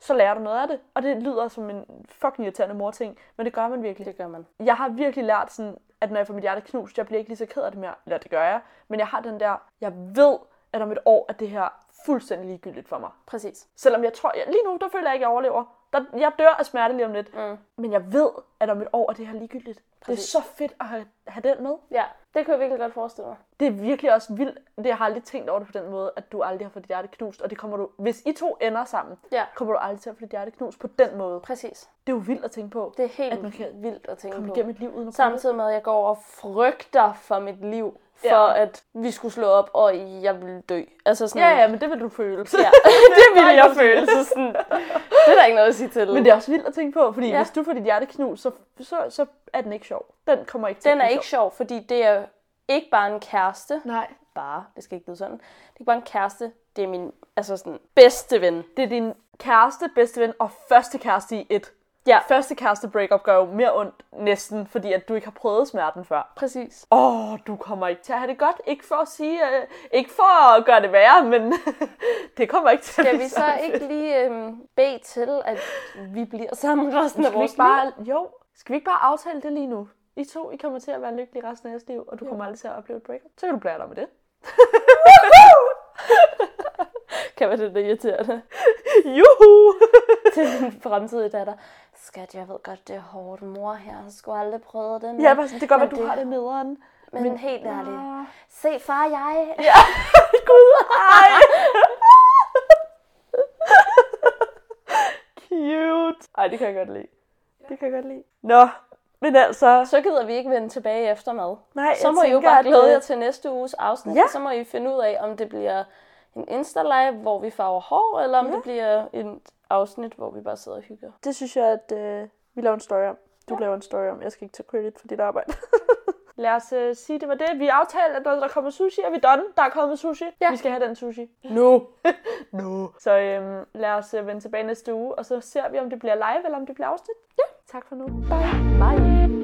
[SPEAKER 1] så lærer du noget af det. Og det lyder som en fucking irriterende morting, men det gør man virkelig
[SPEAKER 2] Det gør man.
[SPEAKER 1] jeg har virkelig lært sådan, at når jeg får mit hjerte knust, jeg bliver ikke lige så ked af det mere. Eller det gør jeg. Men jeg har den der, jeg ved, at om et år er det her fuldstændig ligegyldigt for mig.
[SPEAKER 2] Præcis.
[SPEAKER 1] Selvom jeg tror, jeg, lige nu, der føler jeg ikke, at jeg overlever. Der, jeg dør af smerte lige om lidt. Mm. Men jeg ved, at om et år er det her ligegyldigt.
[SPEAKER 2] Præcis.
[SPEAKER 1] Det er så fedt at have, have den med.
[SPEAKER 2] Ja, det kunne jeg virkelig godt forestille mig.
[SPEAKER 1] Det er virkelig også vildt. Det, jeg har aldrig tænkt over det på den måde, at du aldrig har fået dit hjerte knust. Og det kommer du, hvis I to ender sammen,
[SPEAKER 2] Ja.
[SPEAKER 1] kommer du aldrig til at få dit hjerte knust på den måde.
[SPEAKER 2] Præcis.
[SPEAKER 1] Det er jo vildt at tænke på.
[SPEAKER 2] Det er helt
[SPEAKER 1] At man kan
[SPEAKER 2] vildt at tænke
[SPEAKER 1] Komme
[SPEAKER 2] på.
[SPEAKER 1] igennem et liv uden at
[SPEAKER 2] Samtidig med, at jeg går og frygter for mit liv, for
[SPEAKER 1] Ja.
[SPEAKER 2] at vi skulle slå op, og jeg ville dø. Altså sådan...
[SPEAKER 1] Ja, ja, men det vil du føle.
[SPEAKER 2] ja. det ville jeg føle. Så sådan, det er der ikke noget at sige til.
[SPEAKER 1] Men det er også vildt at tænke på, fordi
[SPEAKER 2] Ja.
[SPEAKER 1] ja. hvis du får dit hjerte knust, så, så, så er den ikke sjov. Den kommer ikke til
[SPEAKER 2] Den
[SPEAKER 1] at
[SPEAKER 2] er
[SPEAKER 1] blive
[SPEAKER 2] ikke sjov, fordi det er ikke bare en kæreste.
[SPEAKER 1] sjov. Nej.
[SPEAKER 2] Bare, det skal ikke lyde sådan. Det er ikke bare en kæreste, det er min altså sådan, bedste ven.
[SPEAKER 1] Det er din kæreste, bedste ven og første kæreste i et.
[SPEAKER 2] Ja,
[SPEAKER 1] Første kæreste breakup gør jo mere ondt næsten, fordi at du ikke har prøvet smerten før.
[SPEAKER 2] præcis.
[SPEAKER 1] Åh, oh, du kommer ikke til at have det godt. Ikke for at sige, øh, ikke for at gøre det værre, men det kommer ikke til at
[SPEAKER 2] Skal
[SPEAKER 1] blive
[SPEAKER 2] vi
[SPEAKER 1] så
[SPEAKER 2] så ikke lige øhm, bede til, at vi bliver sammen resten
[SPEAKER 1] Skal
[SPEAKER 2] af
[SPEAKER 1] vi
[SPEAKER 2] vores
[SPEAKER 1] ikke bare, jo, skal vi ikke bare aftale det lige nu? I to, I kommer til at være lykkelige resten af jeres liv, og du kommer aldrig til at opleve et breakup. Så kan du blære dig med det.
[SPEAKER 2] liv? Kan være det, der irriterer dig
[SPEAKER 1] Juhu!
[SPEAKER 2] til din fremtidige datter. Skat, jeg ved godt, det er hårdt. Mor her har sgu aldrig prøvet det. Men,
[SPEAKER 1] Ja, bare sådan, det kan godt
[SPEAKER 2] men
[SPEAKER 1] være, du har det nederen.
[SPEAKER 2] Men, men helt ærligt.
[SPEAKER 1] Ah.
[SPEAKER 2] Se, far, jeg...
[SPEAKER 1] Gud, ej! Cute. Ej, det kan jeg godt lide. Det kan jeg godt lide. Nå, men altså...
[SPEAKER 2] Så gider vi ikke vende tilbage efter mad.
[SPEAKER 1] Nej,
[SPEAKER 2] Så må
[SPEAKER 1] jeg
[SPEAKER 2] I jo
[SPEAKER 1] tænker,
[SPEAKER 2] bare
[SPEAKER 1] at,
[SPEAKER 2] glæde
[SPEAKER 1] øh,
[SPEAKER 2] jer til næste uges afsnit.
[SPEAKER 1] Ja.
[SPEAKER 2] Ja. Så må I finde ud af, om det bliver en Insta-live, hvor vi farver hår, eller om ja. det bliver et afsnit, hvor vi bare sidder og hygger.
[SPEAKER 1] Det synes jeg, at øh, vi laver en story om. Du ja. laver en story om. Jeg skal ikke tage credit for dit arbejde. Lad os øh, sige, det var det. Vi aftalte, at når der kommer sushi, er vi done. Der er kommet sushi.
[SPEAKER 2] Ja.
[SPEAKER 1] Vi skal have den sushi. Nu. No. nu. No. Så øhm, lad os øh, vende tilbage næste uge, og så ser vi, om det bliver live, eller om det bliver afsnit. Ja. Tak for nu. Bye.
[SPEAKER 2] Bye.